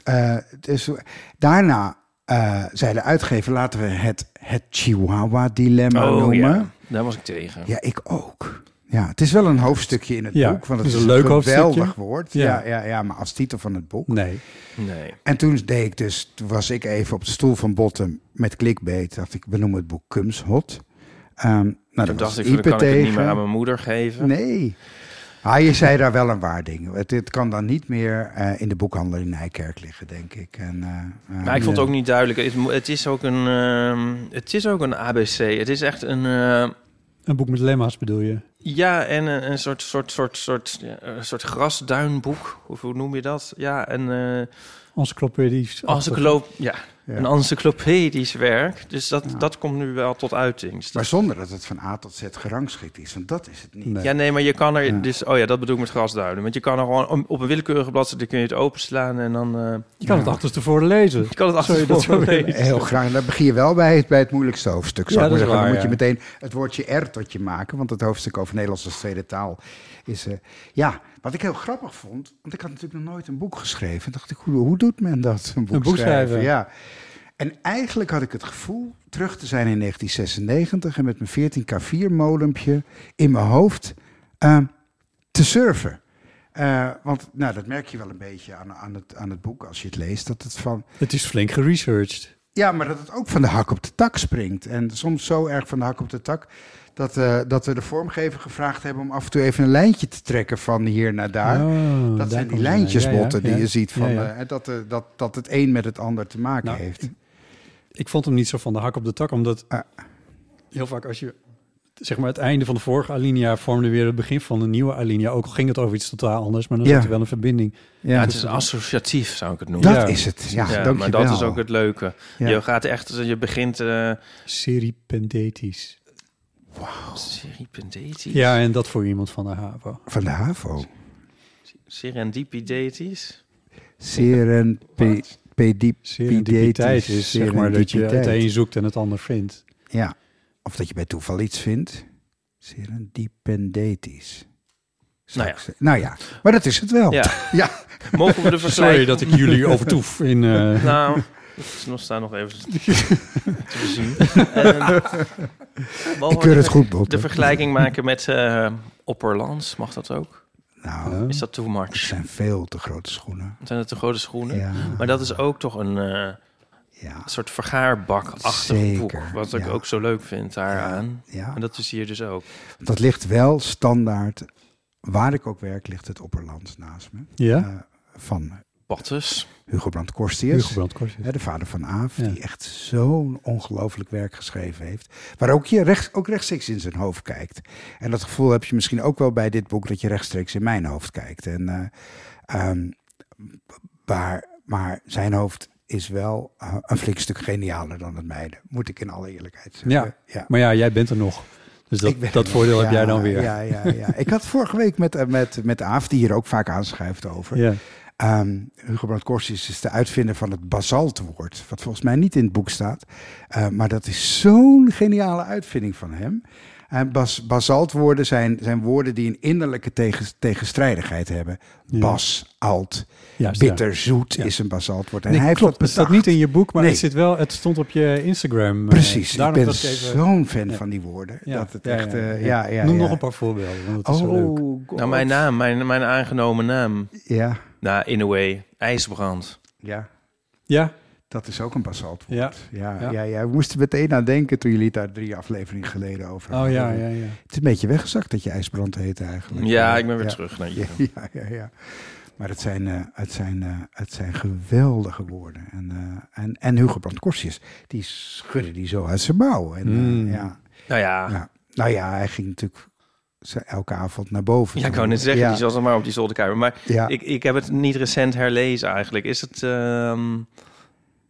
S3: eh, dus daarna eh, zei de uitgever, laten we het, het Chihuahua-dilemma
S2: Oh
S3: noemen.
S2: ja, daar was ik tegen.
S3: Ja, ik ook. Ja, het is wel een hoofdstukje in het
S1: Ja,
S3: boek, want het
S1: het
S3: is
S1: is
S3: een
S1: een leuk
S3: geweldig
S1: hoofdstukje.
S3: woord.
S1: Ja.
S3: Ja, ja, ja, maar als titel van het boek.
S1: Nee.
S2: Nee.
S3: En toen deed ik dus, toen was ik even op de stoel van Bottom met clickbait. Dacht ik, we noemen het boek Cums Hot. Ehm nou,
S2: Toen
S3: dat was
S2: dacht ik, van,
S3: Ipe
S2: dan kan ik het niet meer
S3: tegen.
S2: aan mijn moeder geven.
S3: Nee. Ah, je zei daar wel een waar ding. Het, het kan dan niet meer eh, in de boekhandel in Nijkerk liggen, denk ik. En, eh, eh,
S2: Maar ik vond het ook niet duidelijk. Het, mo- het is ook een, ehm, het is ook een ABC. Het is echt een, eh,
S1: Een boek met lemma's bedoel je?
S2: ja, en een, een soort, soort, soort, soort, ja, een soort grasduinboek. Of hoe noem je dat? Ja, een eh,
S1: Encyclopedisch.
S2: encyclo- ja,
S3: Ja.
S2: een encyclopedisch werk. Dus dat, dat komt nu wel tot uiting. Dus dat-
S3: Maar zonder dat het van A tot Z gerangschikt is, want dat is het niet.
S1: Nee.
S2: Ja, nee, maar je kan er
S3: Ja.
S2: dus... Oh ja, dat bedoel ik met grasduinen. Want je kan er gewoon om- op een willekeurige bladzijde kun je het openslaan en dan... eh,
S1: Je kan het achterstevoren lezen.
S2: je kan het
S1: Zou je
S2: achter
S3: (laughs)
S1: dat zo willen?
S3: Heel graag. En dan begin je wel bij het, bij het moeilijkste hoofdstuk. Zou
S1: Ja,
S3: ik maar
S1: dat is
S3: zeggen. dan
S1: waar,
S3: moet je meteen het woordje R tot je maken. Want het hoofdstuk over Nederlands als tweede taal is... eh, ja, wat ik heel grappig vond... Want ik had natuurlijk nog nooit een boek geschreven. En dacht ik, hoe, hoe doet men dat? Een boek,
S1: boek schrijven.
S3: Ja. En eigenlijk had ik het gevoel terug te zijn in 1996... en met mijn 14K4-molempje in mijn hoofd eh, te surfen. Eh, want nou, dat merk je wel een beetje aan, aan, het, aan het boek als je het leest. Dat het van
S1: Het is flink geresearched.
S3: ja, maar dat het ook van de hak op de tak springt. En soms zo erg van de hak op de tak. Dat, eh, dat we de vormgever gevraagd hebben om af en toe even een lijntje te trekken van hier naar daar.
S1: Oh, daar
S3: dat zijn die
S1: komt het aan.
S3: lijntjesbotten
S1: Ja, ja,
S3: die
S1: ja.
S3: je ziet. Van,
S1: Ja, ja.
S3: eh, dat, eh, dat, dat het een met het ander te maken
S1: Nou,
S3: heeft.
S1: Ik vond hem niet zo van de hak op de tak, omdat
S3: Ah.
S1: heel vaak als je zeg maar het einde van de vorige alinea vormde weer het begin van een nieuwe alinea. Ook al ging het over iets totaal anders, maar dan
S3: Ja.
S1: zat er wel een verbinding.
S2: Ja,
S3: Ja, dus
S2: het is associatief, zou ik het noemen.
S3: dat
S1: ja.
S3: is het. Ja,
S2: Ja,
S3: dankjewel.
S2: maar dat is ook het leuke.
S3: Ja.
S2: Je gaat echt, je begint. eh
S1: Seripendetisch.
S2: serendipitisch.
S1: Ja, en dat voor iemand van de HAVO.
S3: Van de HAVO.
S2: Serendipidetisch.
S1: Serendipiteit
S3: Serendipiteit
S1: is zeg maar dat je het een zoekt en het ander vindt.
S3: Ja, of dat je bij toeval iets vindt. Serendipendetisch. Zou
S2: Nou
S3: ik zeggen. nou ja, maar dat is het wel.
S2: Ja.
S3: ja.
S2: Mogen we de
S1: Sorry
S2: vergelijking?
S1: dat ik jullie overtoef in... eh,
S2: Nou, dat is nog staan nog even te bezien. Ehm, mogen
S3: Ik keur
S2: we
S3: het
S2: de-
S3: goed, Bob.
S2: De vergelijking maken met eh Opperlands, mag dat ook?
S3: Nou,
S2: Is dat too
S3: het
S2: much?
S3: zijn veel te grote schoenen.
S2: Zijn dat te grote schoenen?
S3: Ja,
S2: Maar dat is ook toch een eh,
S3: ja,
S2: soort vergaarbak-achtig
S3: Zeker,
S2: boek. Wat ik
S3: ja.
S2: ook zo leuk vind daaraan.
S3: ja.
S2: En dat is hier dus ook.
S3: Dat ligt wel standaard. Waar ik ook werk, ligt het opperland naast me.
S1: ja?
S3: Eh, van
S2: Battes.
S3: Hugo Brandt Korstius.
S1: Hugo Brandt Kortjes.
S3: Hè, de vader van Aaf,
S1: Dus- Ja.
S3: die echt zo'n ongelooflijk werk geschreven heeft. Waar ook je rechts, ook rechtstreeks in zijn hoofd kijkt. En dat gevoel heb je misschien ook wel bij dit boek, dat je rechtstreeks in mijn hoofd kijkt. En, eh, ehm, maar, maar zijn hoofd is wel eh, een flink stuk genialer dan het mijne. Moet ik in alle eerlijkheid zeggen.
S1: Ja, Maar ja, jij bent er nog. Dus dat,
S3: Ik ben-
S1: dat voordeel heb
S3: Ja,
S1: jij dan weer.
S3: Ja, ja, ja. ik had vorige week met, eh, met, met Aaf, die hier ook vaak aanschuift over.
S1: Ja.
S3: Ehm, Hugo Brandt Corsius is de uitvinder van het basaltwoord, wat volgens mij niet in het boek staat. Eh, maar dat is zo'n geniale uitvinding van hem. En bas, basaltwoorden zijn, zijn woorden die een innerlijke tegens- tegenstrijdigheid hebben.
S1: Ja.
S3: Bas, alt,
S1: Juist, ja.
S3: bitter, zoet
S1: Ja.
S3: is een basaltwoord. En
S1: Nee,
S3: hij heeft
S1: klopt.
S3: dat
S1: het staat
S3: bedacht.
S1: niet in je boek, maar
S3: Nee.
S1: het, zit wel, het stond op je Instagram. eh,
S3: Precies, ik
S1: daarom
S3: ben
S1: dat ik even-
S3: zo'n fan
S1: Ja.
S3: van die woorden.
S1: Ja,
S3: dat het
S1: ja,
S3: echt,
S1: ja,
S3: eh,
S1: ja.
S3: ja, ja,
S1: Noem
S3: ja.
S1: nog een paar voorbeelden, want het is zo leuk.
S3: Oh, God.
S2: Nou, mijn naam, mijn, mijn aangenomen naam.
S3: Ja,
S2: Nou, in a way, ijsbrand.
S3: ja.
S1: Ja,
S3: Dat is ook een basaltwoord.
S1: Ja.
S3: Ja,
S1: Ja.
S3: ja. ja, we moesten meteen aan denken toen jullie het daar drie afleveringen geleden over
S1: oh ja, ja, ja.
S3: Het is een beetje weggezakt dat je ijsbrand heet eigenlijk.
S2: Ja, ik ben weer
S3: Ja.
S2: terug naar
S3: Ja, (laughs)
S2: hier.
S3: ja, ja, ja. Maar het zijn, eh, het, zijn, eh, het zijn geweldige woorden. En, eh, en, en Hugo Brandt Korsius, die schudde die zo uit zijn mouw. En, eh,
S1: Mm.
S3: ja.
S2: Nou ja,
S3: Ja. Nou ja, hij ging natuurlijk ze- elke avond naar boven.
S2: ja ik
S3: kan
S2: wou net zeggen,
S3: ja,
S2: die zat dan maar op die zolderkamer. Maar
S3: ja.
S2: ik, ik heb het niet recent herlezen eigenlijk. Is het... ehm,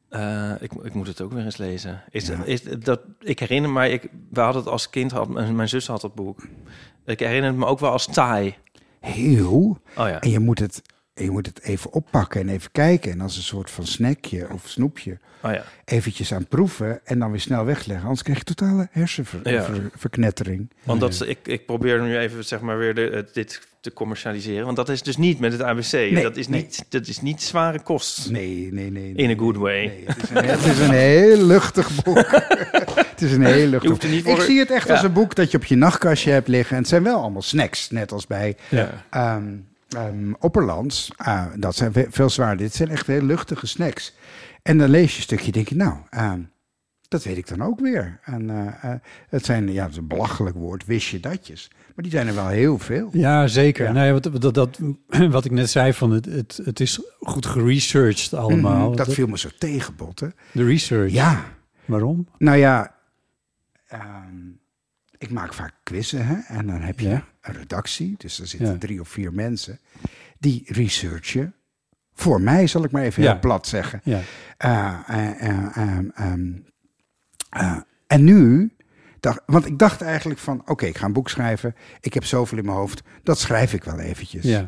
S2: eh, ik, ik moet het ook weer eens lezen. Is,
S3: Ja.
S2: is dat, ik herinner me, ik, we hadden het als kind, had, mijn mijn zus had het boek. Ik herinner het me ook wel als Thai.
S3: Heel
S2: Oh ja.
S3: En je moet het, en je moet het even oppakken en even kijken. En als een soort van snackje of snoepje
S2: Oh ja.
S3: eventjes aan proeven en dan weer snel wegleggen. Anders krijg je totale
S2: Ja.
S3: hersenverknettering.
S2: Want dat, is- ik, ik probeer nu even zeg maar weer de, het- dit te commercialiseren. Want dat is dus niet met het ABC. dat, is
S3: nee.
S2: niet, dat is niet zware kost.
S3: Nee, nee, nee. nee.
S2: In a good way.
S3: Nee, het, is een, het is een heel luchtig boek.
S2: (laughs)
S3: het is een heel
S2: Je
S3: luchtig
S2: hoeft
S3: boek.
S2: er niet voor...
S3: Ik zie het echt
S2: Ja.
S3: als een boek dat je op je nachtkastje hebt liggen. En het zijn wel allemaal snacks, net als bij
S2: Ja.
S3: Ehm, ehm, opperlands, ah, dat zijn ve- veel zwaarder. Dit zijn echt heel luchtige snacks. En dan lees je een stukje, denk je, nou, ehm, Dat weet ik dan ook weer. En, eh, eh, het zijn, ja, het is een belachelijk woord, wist je datjes. Maar die zijn er wel heel veel.
S1: Ja, zeker. Nee, wat, dat, dat, (clears throat) wat ik net zei, van het, het, het is goed geresearched allemaal.
S3: Mhm, dat viel me zo tegen, Botte.
S1: De research.
S3: Ja.
S1: Waarom?
S3: Nou ja, ehm, ik maak vaak quizzen hè? en dan heb je
S1: Ja.
S3: een redactie. Dus er zitten
S1: Ja.
S3: drie of vier mensen die researchen. Voor mij zal ik maar even
S1: Ja.
S3: heel plat zeggen.
S1: Ja.
S3: Eh, eh, eh, ehm, ehm, eh, en nu, dacht, want ik dacht eigenlijk van, oké, ik ga een boek schrijven. Ik heb zoveel in mijn hoofd, dat schrijf ik wel eventjes.
S1: Ja.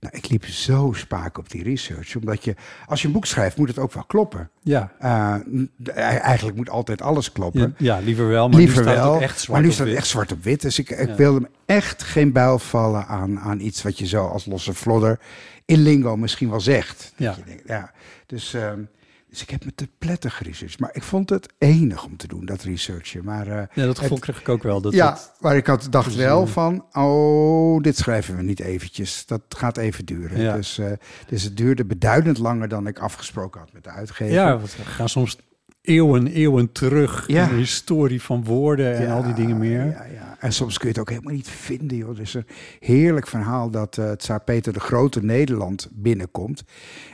S3: Nou, ik liep zo spaak op die research, omdat je, als je een boek schrijft, moet het ook wel kloppen.
S1: Ja.
S3: Eh, d- eigenlijk moet altijd alles kloppen.
S1: Ja, ja, liever wel. Maar
S3: Liever
S1: nu staat het
S3: wel,
S1: ook echt zwart
S3: maar nu
S1: op
S3: staat het
S1: wit.
S3: echt zwart op wit. Dus ik, ik
S1: Ja.
S3: wilde hem echt geen buil vallen aan, aan iets wat je zo als losse vlodder in lingo misschien wel zegt.
S1: Ja.
S3: Dat je denkt, ja. Dus, ehm, dus ik heb me te prettig geresearched. Maar ik vond het enig om te doen, dat researchen. Maar, eh,
S1: Ja, dat gevoel
S3: het-
S1: kreeg ik ook wel. Dat
S3: ja,
S1: het-
S3: maar ik had, dacht
S1: Dus,
S3: wel
S1: eh,
S3: van, oh, dit schrijven we niet eventjes. Dat gaat even duren.
S1: Ja.
S3: Dus, eh, dus het duurde beduidend langer dan ik afgesproken had met de uitgever.
S1: ja, want we gaan soms eeuwen, eeuwen terug
S3: Ja.
S1: in de historie van woorden en
S3: Ja,
S1: al die dingen meer. Ja,
S3: Ja, en soms kun je het ook helemaal niet vinden, joh. Er is een heerlijk verhaal dat eh Tsaar Peter de Grote Nederland binnenkomt.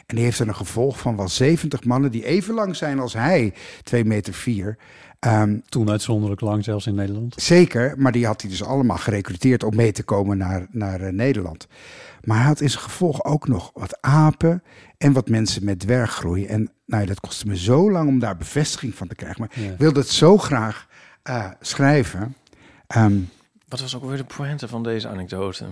S3: En die heeft dan een gevolg van wel 70 mannen die even lang zijn als hij, 2 meter 4.
S1: Toen uitzonderlijk lang, zelfs in Nederland.
S3: zeker, maar die had hij dus allemaal gerecruiteerd om mee te komen naar, naar eh, Nederland. Maar hij had in zijn gevolg ook nog wat apen en wat mensen met dwerggroei. En nou ja, dat kostte me zo lang om daar bevestiging van te krijgen. Maar
S1: Ja.
S3: ik wilde het zo graag eh, schrijven. Ehm,
S2: Wat was ook weer de pointe van deze anekdote?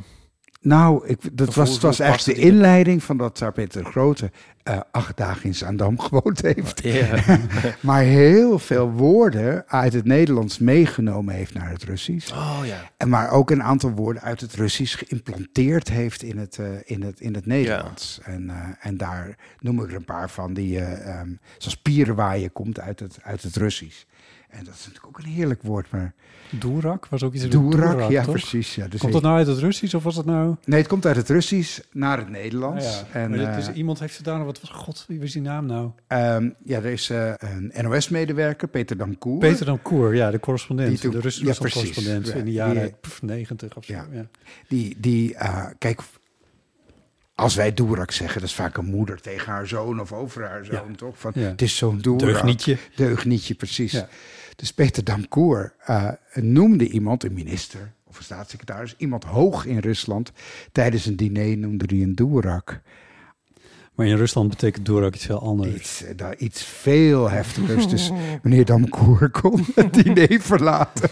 S3: Nou, ik, dat
S2: Of
S3: was,
S2: hoe-
S3: het was
S2: hoe
S3: eigenlijk
S2: paste
S3: de
S2: die-
S3: inleiding van dat Tsar Peter de Grote eh, acht dagen in Zaandam (laughs) gewoond heeft.
S2: Ja.
S1: (laughs)
S3: maar heel veel woorden uit het Nederlands meegenomen heeft naar het Russisch.
S2: Oh ja.
S3: En maar ook een aantal woorden uit het Russisch geïmplanteerd heeft in het, eh, in het, in het Nederlands. En, eh, en daar noem ik er een paar van die, eh, ehm, zoals pierenwaaien, komt uit het, uit het Russisch. En dat is natuurlijk ook een heerlijk woord, maar
S1: Doerak was ook iets met
S3: Doerak, ja
S1: toch?
S3: precies. Ja, dus
S1: Komt dat nou uit het Russisch of was dat nou...
S3: Nee, het komt uit het Russisch naar het Nederlands.
S1: Nou ja,
S3: en,
S1: maar dit is,
S3: eh,
S1: iemand heeft gedaan, wat was, god, wie was die naam nou?
S3: Ehm, ja, er is eh, een NOS-medewerker, Peter Damkoer.
S1: Peter dan Koer, ja, de
S3: Die
S1: correspondent,
S3: toen-
S1: de Russische
S3: ja, precies.
S1: correspondent
S3: Ja,
S1: in de
S3: die-
S1: jaren pff, 90 of zo. Ja.
S3: Ja. Die, die eh, kijk, als wij Doerak zeggen, dat is vaak een moeder tegen haar zoon of over haar zoon, toch? Van,
S1: Ja.
S3: Het is zo'n Doerak.
S1: Deugnietje.
S3: Deugnietje, precies.
S1: Ja.
S3: Dus Peter Damkoer eh, noemde iemand, een minister of een staatssecretaris, iemand hoog in Rusland, tijdens een diner noemde hij een Doerak.
S1: Maar in Rusland betekent Doerak iets heel anders.
S3: Iets, eh, daar- iets veel
S1: (laughs)
S3: heftigers. Dus meneer Damkoer kon het diner verlaten.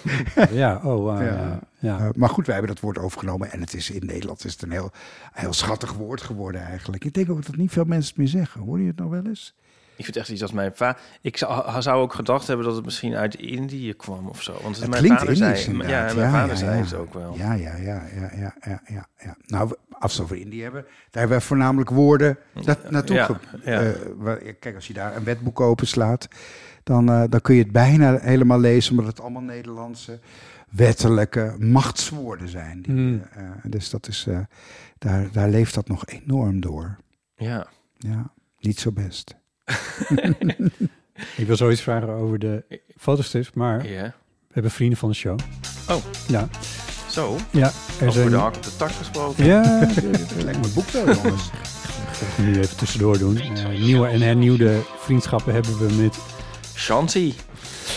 S1: ja, oh, wauw,
S3: Ja.
S1: ja. ja.
S3: Eh, maar goed, wij hebben dat woord overgenomen. En het is in Nederland is het een heel, heel schattig woord geworden eigenlijk. Ik denk ook dat niet veel mensen het meer zeggen. Hoor je het nou wel eens?
S2: Ik vind echt iets als mijn vader. Ik zou, zou ook gedacht hebben dat het misschien uit Indië kwam of zo. Want
S3: Het
S2: mijn
S3: klinkt
S2: vader
S3: Indisch
S2: zei,
S3: inderdaad.
S2: Ja, en mijn vader zei
S3: ja.
S2: het ook wel.
S3: Ja, ja, ja, ja, ja, ja, ja, ja. Nou, we- als we het over Indië hebben, daar hebben we voornamelijk woorden na naartoe.
S2: Ja,
S3: ge-
S2: ja.
S3: eh, waar- ja, kijk, als je daar een wetboek openslaat, dan, eh, dan kun je het bijna helemaal lezen, omdat het allemaal Nederlandse wettelijke machtswoorden zijn. Die,
S1: Hmm.
S3: eh, eh, dus dat is, eh, daar, daar leeft dat nog enorm door.
S2: Ja.
S3: Ja, niet zo best.
S1: Ik wil zoiets vragen over de fotostrips, maar we
S2: Ja.
S1: hebben vrienden van de show.
S2: Oh.
S1: Ja.
S2: Zo,
S1: Ja, er
S2: over
S1: zijn...
S2: de hak op de tak gesproken.
S1: Ja, (laughs)
S3: Het lijkt me boek wel, jongens.
S1: nu even tussendoor doen. Eh, nieuwe en hernieuwde vriendschappen hebben we met
S2: Shanti.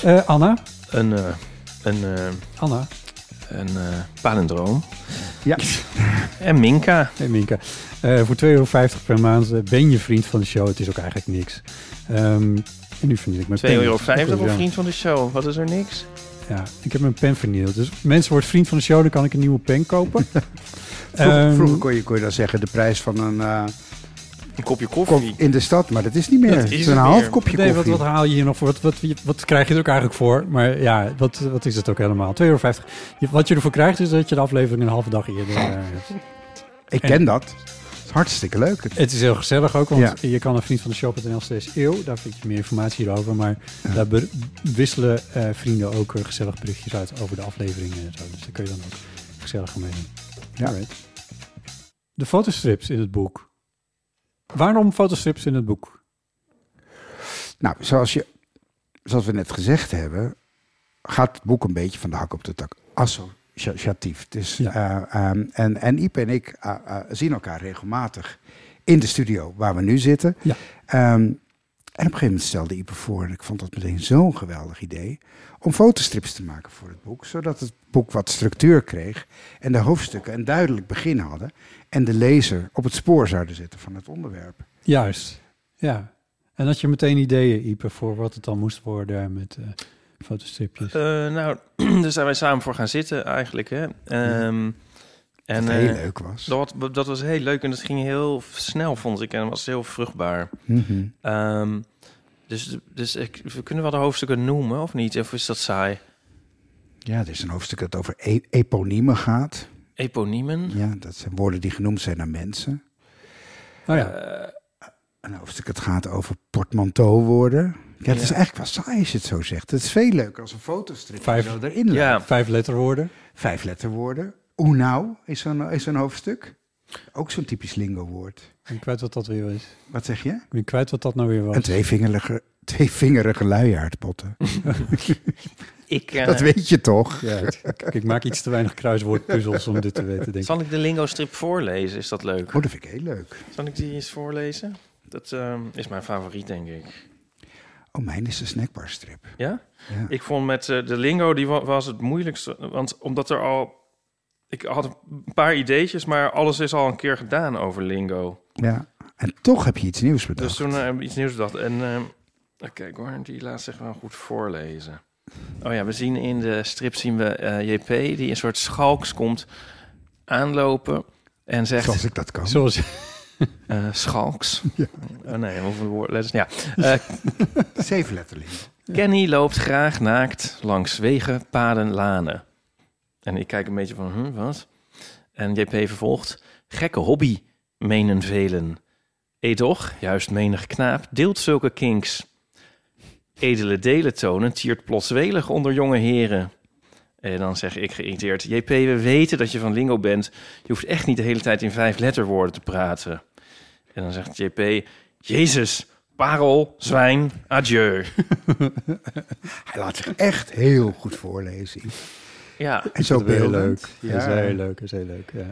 S1: eh, Anna.
S2: Een, eh, een, eh,
S1: Anna,
S2: een eh, palindroom.
S3: Ja.
S2: (laughs) En Minka.
S1: hey Minka. Eh, voor 2,50 euro per maand eh, ben je vriend van de show. Het is ook eigenlijk niks. Ehm, en nu verniel ik mijn
S2: 2,50
S1: pen.
S2: euro
S1: Ja.
S2: of vriend van de show. Wat is er niks?
S1: Ja, ik heb mijn pen vernield. Dus mensen wordt vriend van de show, dan kan ik een nieuwe pen kopen. Ehm,
S3: Vroeger, vroeger kon, je, kon je dan zeggen de prijs van een eh,
S2: Een kopje
S3: kop
S2: koffie.
S3: in de stad, maar dat is niet meer.
S2: Dat
S3: Het
S2: is
S3: is
S2: het
S3: een half
S2: meer.
S3: kopje
S1: Nee, wat,
S3: koffie.
S1: wat haal je hier nog voor? Wat, wat, wat krijg je er ook eigenlijk voor? Maar ja, wat, wat is het ook helemaal? 2,50 euro. Wat je ervoor krijgt is dat je de aflevering een halve dag eerder eh, hebt.
S3: Ik ken dat. Het is hartstikke leuk. Het-
S1: Het is heel gezellig ook, want
S3: Ja.
S1: je kan een vriend van de show.nl steeds eeuw. Daar vind je meer informatie hierover. Maar daar be- wisselen eh, vrienden ook eh, gezellig berichtjes uit over de afleveringen en zo. Dus daar kun je dan ook gezellig aan meedoen.
S3: Ja.
S1: Alright. De fotostrips in het boek. Waarom fotostrips in het boek?
S3: Nou, zoals je zoals we net gezegd hebben, gaat het boek een beetje van de hak op de tak. Associatief. Dus, eh, ehm, en, en Iep en ik eh, eh, zien elkaar regelmatig in de studio waar we nu zitten. Ehm, en op een gegeven moment stelde Iep voor, en ik vond dat meteen zo'n geweldig idee, om fotostrips te maken voor het boek, zodat het boek wat structuur kreeg en de hoofdstukken een duidelijk begin hadden en de lezer op het spoor zouden zetten van het onderwerp.
S1: Juist, ja. En had je meteen ideeën, Ipe, voor wat het dan moest worden met eh, fotostripjes?
S2: Eh, nou, (clears throat) daar zijn wij samen voor gaan zitten eigenlijk. Hè. Ehm, en,
S3: Wat heel
S2: eh,
S3: leuk was.
S2: Dat, dat was heel leuk en dat ging heel snel, vond ik. En was heel vruchtbaar.
S3: Mhm.
S2: Ehm, dus dus ik, we kunnen wel de hoofdstukken noemen, of niet? Of is dat saai?
S3: Ja, er is een hoofdstuk dat over e- eponiemen gaat.
S2: Eponiemen?
S3: Ja, dat zijn woorden die genoemd zijn naar mensen.
S1: Oh ja.
S3: Een hoofdstuk dat gaat over portmanteau-woorden. Ja, het
S1: Ja.
S3: is eigenlijk wel saai als je het zo zegt. Het is veel leuker als een fotostrip.
S1: Vijf-
S3: zo erin
S2: ja.
S1: vijf letterwoorden.
S3: Vijf letterwoorden. Hoe nou is zo'n is zo'n hoofdstuk. Ook zo'n typisch lingo-woord.
S1: Ik ben kwijt wat dat weer was.
S3: Wat zeg je?
S1: Ik ben kwijt wat dat nou weer was.
S3: Een tweevingerige, tweevingerige luiaardpotten.
S2: (laughs) Ik, eh,
S3: dat weet je toch?
S1: Ja, (laughs) het- ik, ik maak iets te weinig kruiswoordpuzzels om dit te weten, denk ik.
S2: Zal ik de lingo-strip voorlezen? Is dat leuk?
S3: Oh, dat vind ik heel leuk.
S2: Zal ik die eens voorlezen? Dat ehm, is mijn favoriet, denk ik.
S3: Oh, mijn is de snackbarstrip.
S2: Ja?
S3: Ja.
S2: Ik vond met eh, de lingo, die wa- was het moeilijkste. Want omdat er al... Ik had een paar ideetjes, maar alles is al een keer gedaan over lingo.
S3: Ja. En toch heb je iets nieuws bedacht.
S2: Dus toen heb ik iets nieuws bedacht. En ehm, even kijken hoor, die laat zich wel goed voorlezen. Oh ja, we zien in de strip zien we eh, JP, die een soort schalks komt aanlopen en zegt...
S3: Zoals ik dat kan.
S1: Zoals,
S2: eh, schalks. Oh nee, hoeveel woorden, letters? Ja. Eh,
S3: Zeven letterlijk.
S2: Kenny loopt graag naakt langs wegen, paden, lanen. En ik kijk een beetje van, hm, wat? En JP vervolgt, gekke hobby, menen velen. Edoch, juist menig knaap, deelt zulke kinks. Edele delentonen tiert plots welig onder jonge heren. En dan zeg ik geïrriteerd, JP, we weten dat je van lingo bent. Je hoeft echt niet de hele tijd in vijf letterwoorden te praten. En dan zegt JP, Jezus, parel, zwijn, adieu.
S3: Hij laat zich echt heel goed voorlezen.
S2: Ja,
S3: En zo
S1: dat is heel
S3: beeldend.
S1: leuk. Ja. Dat is heel (laughs) leuk, dat is heel leuk, ja.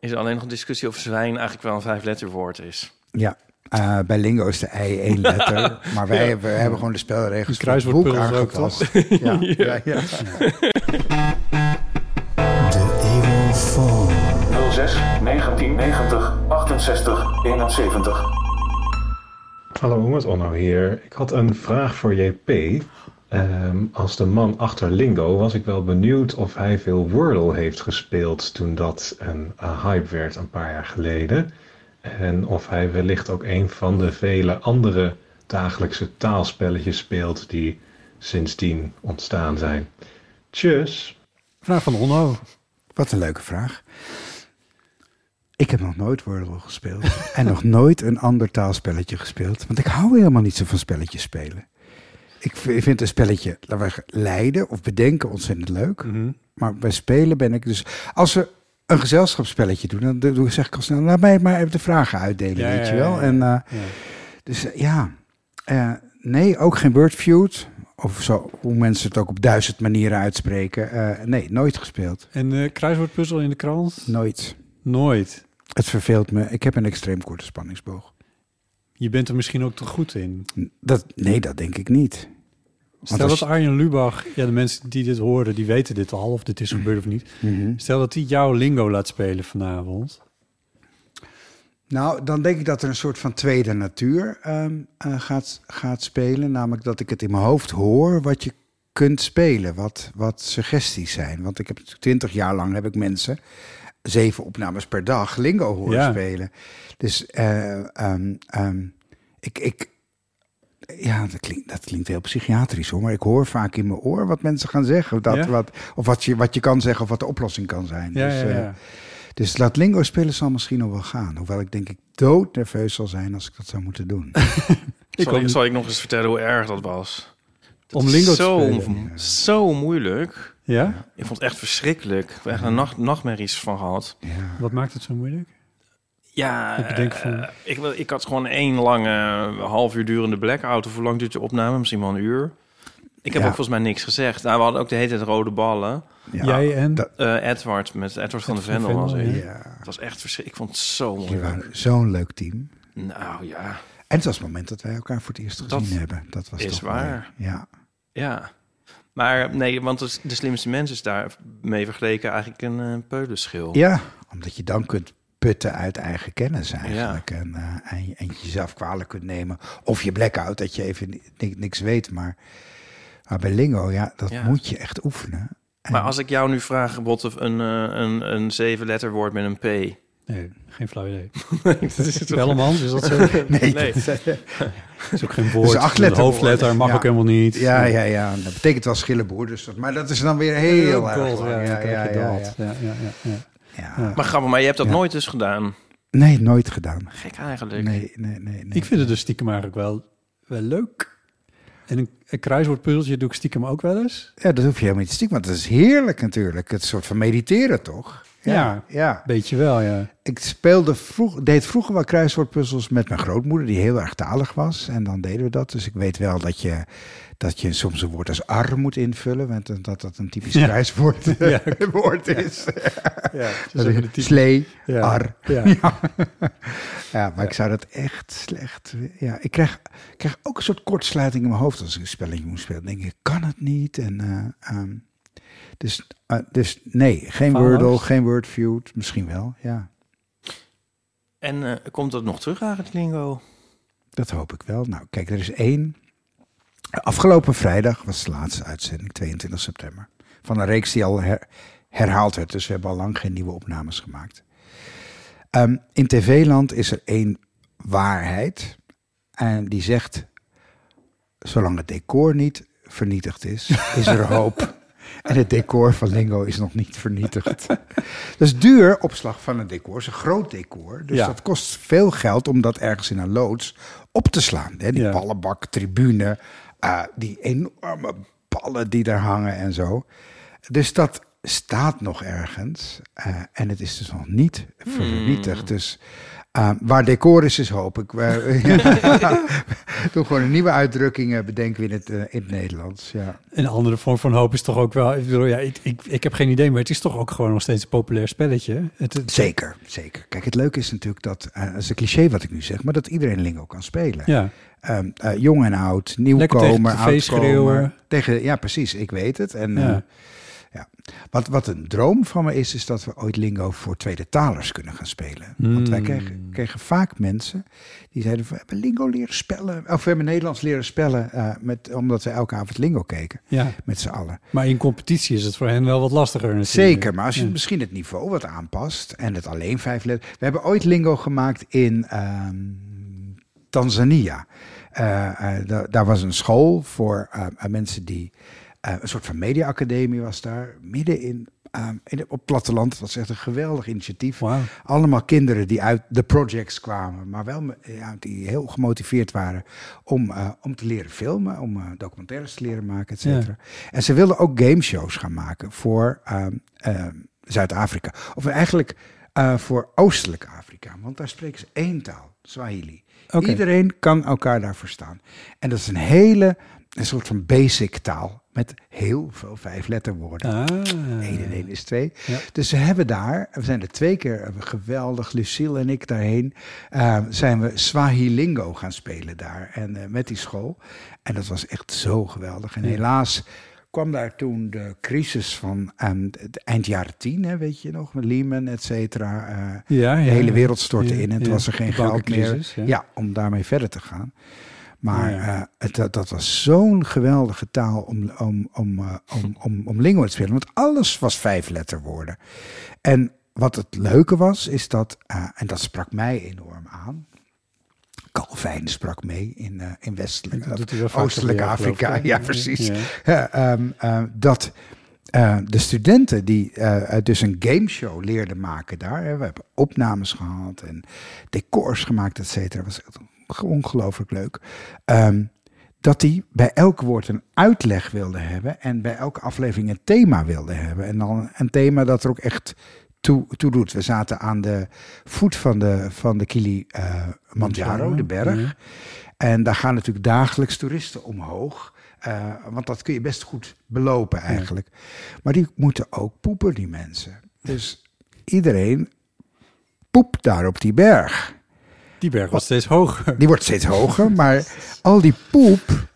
S2: is er alleen nog een discussie of zwijn eigenlijk wel een vijfletterwoord is.
S3: Ja. Eh, bij Lingo is de ei één
S1: (laughs)
S3: letter. maar wij hebben, we hebben gewoon de spelregels
S1: De
S3: van het boek
S1: kruiswoordpuzzels ook,
S3: aangetast. Ja,
S1: (laughs)
S3: ja, ja. De Evil Four.
S4: 06 1990 68 71.
S5: Hallo, hoe met Onno hier. Ik had een vraag voor JP. Ehm, als de man achter Lingo was ik wel benieuwd of hij veel Wordle heeft gespeeld toen dat een eh, hype werd een paar jaar geleden. En of hij wellicht ook een van de vele andere dagelijkse taalspelletjes speelt die sindsdien ontstaan zijn. Tjus!
S1: Vraag van Onno.
S3: Wat een leuke vraag. Ik heb nog nooit Wordle
S1: (laughs)
S3: gespeeld. en nog nooit een ander taalspelletje gespeeld. Want ik hou helemaal niet zo van spelletjes spelen. Ik v- ik vind een spelletje, laten we zeggen, leiden of bedenken ontzettend leuk.
S1: Mhm.
S3: Maar bij spelen ben ik dus... Als we een gezelschapsspelletje doen, dan doe, zeg ik al snel... Laat mij maar even de vragen uitdelen,
S1: Ja,
S3: weet
S1: ja,
S3: je wel.
S1: ja, ja.
S3: En, eh, Dus eh, ja, Eh, nee, ook geen Wordfeud. Of zo, hoe mensen het ook op duizend manieren uitspreken. Eh, nee, nooit gespeeld.
S1: En eh kruiswoordpuzzel in de krant?
S3: Nooit.
S1: Nooit.
S3: Het verveelt me. Ik heb een extreem korte spanningsboog.
S1: Je bent er misschien ook te goed in.
S3: Dat, nee, dat denk ik niet.
S1: Stel
S3: als-
S1: dat Arjen Lubach, ja, de mensen die dit horen, die weten dit al, of dit is gebeurd of niet. Stel dat hij jouw lingo laat spelen vanavond.
S3: Nou, dan denk ik dat er een soort van tweede natuur ehm, eh, gaat, gaat spelen. Namelijk dat ik het in mijn hoofd hoor wat je kunt spelen. Wat, wat suggesties zijn. Want ik heb twintig jaar lang heb ik mensen zeven opnames per dag lingo horen
S1: Ja.
S3: spelen. Dus eh, ehm, ehm, ik, ik, Ja, dat klinkt, dat klinkt heel psychiatrisch hoor. Maar ik hoor vaak in mijn oor wat mensen gaan zeggen. Dat,
S1: Ja.
S3: wat, of wat je, wat je kan zeggen of wat de oplossing kan zijn.
S1: Ja,
S3: dus,
S1: ja, ja.
S3: eh, dus dat lingo spelen zal misschien nog wel gaan. Hoewel ik denk ik doodnerveus zal zijn als ik dat zou moeten doen.
S2: zal,
S1: ook
S2: ik,
S1: niet.
S2: zal ik nog eens vertellen hoe erg dat was? Dat
S1: Om
S2: is
S1: lingo te
S2: zo,
S1: spelen.
S2: zo moeilijk.
S1: Ja?
S2: Ik vond het echt verschrikkelijk. Ik heb echt een nacht, nachtmerries van gehad.
S1: Wat maakt het zo moeilijk?
S2: Ja,
S1: Ik bedenk van-
S2: eh, ik, wil- ik had gewoon één lange eh, half uur durende blackout. Of hoe lang duurt je opname? Misschien wel een uur. Ik heb
S1: Ja.
S2: ook volgens mij niks gezegd. Nou, we hadden ook de hele tijd rode ballen.
S1: Jij en? Dat-
S2: Eh, Edward, met Edward van de
S1: Edward
S2: Vendel
S1: van
S2: was
S1: Vendel,
S2: ik.
S1: ja.
S2: Het was echt verschrikkelijk. Ik vond het zo mooi.
S3: Jullie waren zo'n leuk team.
S2: Nou ja,
S3: En het was het moment dat wij elkaar voor het eerst gezien hebben. Dat was
S2: is
S3: toch
S2: waar.
S3: mooi. Ja.
S2: Ja. Maar nee, want dus de, de slimste mens is daarmee vergeleken eigenlijk een eh, peulenschil.
S3: ja, omdat je dan kunt putten uit eigen kennis eigenlijk. En, eh, en, je- en jezelf kwalijk kunt nemen. Of je blackout, dat je even ni- ni- niks weet. Maar, maar bij Lingo, ja, dat
S2: Ja.
S3: moet je echt oefenen.
S2: Maar als ik jou nu vraag, Botte, een, eh, een, een zeven woord met een P.
S1: Nee, geen flauw
S2: (laughs)
S1: idee.
S2: dat is het toch-
S1: Bellemans, is dat
S2: (laughs)
S1: zo?
S3: (laughs)
S2: Nee.
S1: is ook geen woord. een hoofdletter mag ook helemaal niet.
S3: Ja, ja, ja. Dat betekent wel schillenboer. Dus dat, maar dat is dan weer
S2: Oh,
S3: heel erg.
S1: Gold,
S3: lang.
S1: ja, dan krijg je dat. Ja, ja, ja, ja. Ja.
S2: Maar grappig, maar je hebt dat nooit dus gedaan.
S3: Nee, nooit gedaan.
S2: Gek eigenlijk.
S3: Nee, nee, nee. nee.
S1: Ik vind het dus stiekem eigenlijk wel, wel leuk. En een, een kruiswoordpuzzeltje doe ik stiekem ook wel eens.
S3: Ja, dat hoef je helemaal niet te stiekem, want dat is heerlijk natuurlijk. Het soort van mediteren, toch?
S1: Ja,
S3: ja.
S1: beetje wel, ja.
S3: Ik speelde vroeg, deed vroeger wel kruiswoordpuzzels met mijn grootmoeder, die heel erg talig was. En dan deden we dat. Dus ik weet wel dat je, dat je soms een woord als ar moet invullen, want dat- dat dat een typisch
S1: Ja.
S3: kruiswoord
S1: (laughs) Ja.
S3: (laughs) woord is.
S1: Ja, dus het is
S3: Dat
S1: even
S3: is
S1: de type-
S3: Slee,
S1: Ja.
S3: ar.
S1: Ja.
S3: Ja, (laughs) Ja, maar ik zou dat echt slecht... Ja, ik krijg, ik krijg ook een soort kortsluiting in mijn hoofd als ik een spelletje moet spelen. Dan denk ik, kan het niet? En, eh, ehm, dus, eh, dus nee, geen
S2: Faalangst?
S3: Wordle, geen Wordfeud. Misschien wel, ja.
S2: En eh, komt dat nog terug eigenlijk, Lingo?
S3: Dat hoop ik wel. Nou, kijk, er is één. Afgelopen vrijdag was de laatste uitzending, 22 september. Van een reeks die al her- herhaald werd. Dus we hebben al lang geen nieuwe opnames gemaakt. Ehm, in TV-land is er één waarheid. En die zegt: zolang het decor niet vernietigd is, is er hoop. (laughs) En het decor van Lingo is nog niet vernietigd. (laughs) Dat is duur opslag van een decor. Het is een groot decor. Dus
S1: Ja.
S3: dat kost veel geld om dat ergens in een loods op te slaan. Hè? Die ballenbak, tribune, eh, die enorme ballen die daar hangen en zo. Dus dat staat nog ergens. eh, en het is dus nog niet vernietigd. Dus eh, waar decor is, is hoop. Ik eh, (laughs) ja. doe gewoon een nieuwe uitdrukking eh, bedenken we in het, eh, in het Nederlands. Ja.
S1: Een andere vorm van hoop is toch ook wel... Ik, bedoel, ja, ik, ik, ik heb geen idee, maar het is toch ook gewoon nog steeds een populair spelletje. Het, het-
S3: Zeker, zeker. Kijk, het leuke is natuurlijk dat, eh dat is een cliché wat ik nu zeg, maar dat iedereen Lingo kan spelen.
S1: Ja.
S3: Ehm, eh, jong en oud, nieuwkomer,
S1: Lekker tegen de tv schreeuwen.
S3: oudkomer. Tegen, ja, precies, ik weet het. En,
S1: Ja.
S3: eh, ja. wat, wat een droom van me is, is dat we ooit Lingo voor tweede talers kunnen gaan spelen. Want wij
S1: Hmm.
S3: kregen, kregen vaak mensen die zeiden van, we hebben Lingo leren spellen, of we hebben Nederlands leren spellen, eh, met, omdat we elke avond Lingo keken,
S1: Ja.
S3: met z'n allen.
S1: Maar in competitie is het voor hen wel wat lastiger natuurlijk.
S3: Zeker, maar als je
S1: Ja.
S3: misschien het niveau wat aanpast en het alleen vijf letters. We hebben ooit lingo gemaakt in ehm, Tanzania. Eh, eh, da- daar was een school voor eh, eh, mensen die. eh, een soort van mediaacademie was daar, midden in. ehm, in het- op het platteland, dat was echt een geweldig initiatief. Allemaal kinderen die uit de projects kwamen, maar wel me- ja, die heel gemotiveerd waren om, eh, om te leren filmen, om eh, documentaires te leren maken, et cetera. En ze wilden ook gameshows gaan maken voor ehm, ehm, Zuid-Afrika. Of eigenlijk eh, voor Oostelijk Afrika. Want daar spreken ze één taal, Swahili.
S1: Oké.
S3: Iedereen kan elkaar daar verstaan. En dat is een hele een soort van basic taal. Met heel veel vijfletterwoorden.
S1: Ah.
S3: 1 en 1 is 2. Dus ze hebben daar, we zijn er twee keer eh, geweldig, Lucille en ik daarheen, eh, zijn we Swahilingo gaan spelen daar. En eh, met die school. En dat was echt zo geweldig. En
S1: Ja.
S3: helaas kwam daar toen de crisis van ehm, het eind jaren 10, hè, weet je nog, met Lehman, et cetera. eh,
S1: Ja, ja,
S3: de hele
S1: ja.
S3: wereld stortte
S1: Ja,
S3: in en toen
S1: ja.
S3: was er geen
S1: De
S3: geld meer
S1: bankencrisis,
S3: ja.
S1: ja.
S3: om daarmee verder te gaan. Maar
S1: Ja, ja.
S3: eh, het, dat, dat was zo'n geweldige taal om, om, om, eh, om, om, om lingo te spelen. Want alles was vijfletterwoorden. En wat het leuke was, is dat, eh, en dat sprak mij enorm aan. Calvijn sprak mee in, eh in Westelijk,
S1: Dat doet hij wel vaker
S3: Oostelijk
S1: bij jou, geloof
S3: Afrika.
S1: ik, hè?
S3: Ja, precies.
S1: Ja.
S3: Ja, ehm, ehm, dat eh, de studenten die eh, eh, dus een gameshow leerden maken daar. Hè, we hebben opnames gehad en decors gemaakt, et cetera. was echt ongelooflijk leuk. Ehm, dat die bij elk woord een uitleg wilden hebben. En bij elke aflevering een thema wilden hebben. En dan een thema dat er ook echt toe, toe doet. We zaten aan de voet van de, van de Kili eh Manjaro, de berg.
S6: Ja.
S3: En daar gaan natuurlijk dagelijks toeristen omhoog. eh, want dat kun je best goed belopen eigenlijk. Maar die moeten ook poepen, die mensen. Dus iedereen poept daar op die berg.
S1: Die berg wordt steeds hoger.
S3: Die wordt steeds hoger, maar al die poep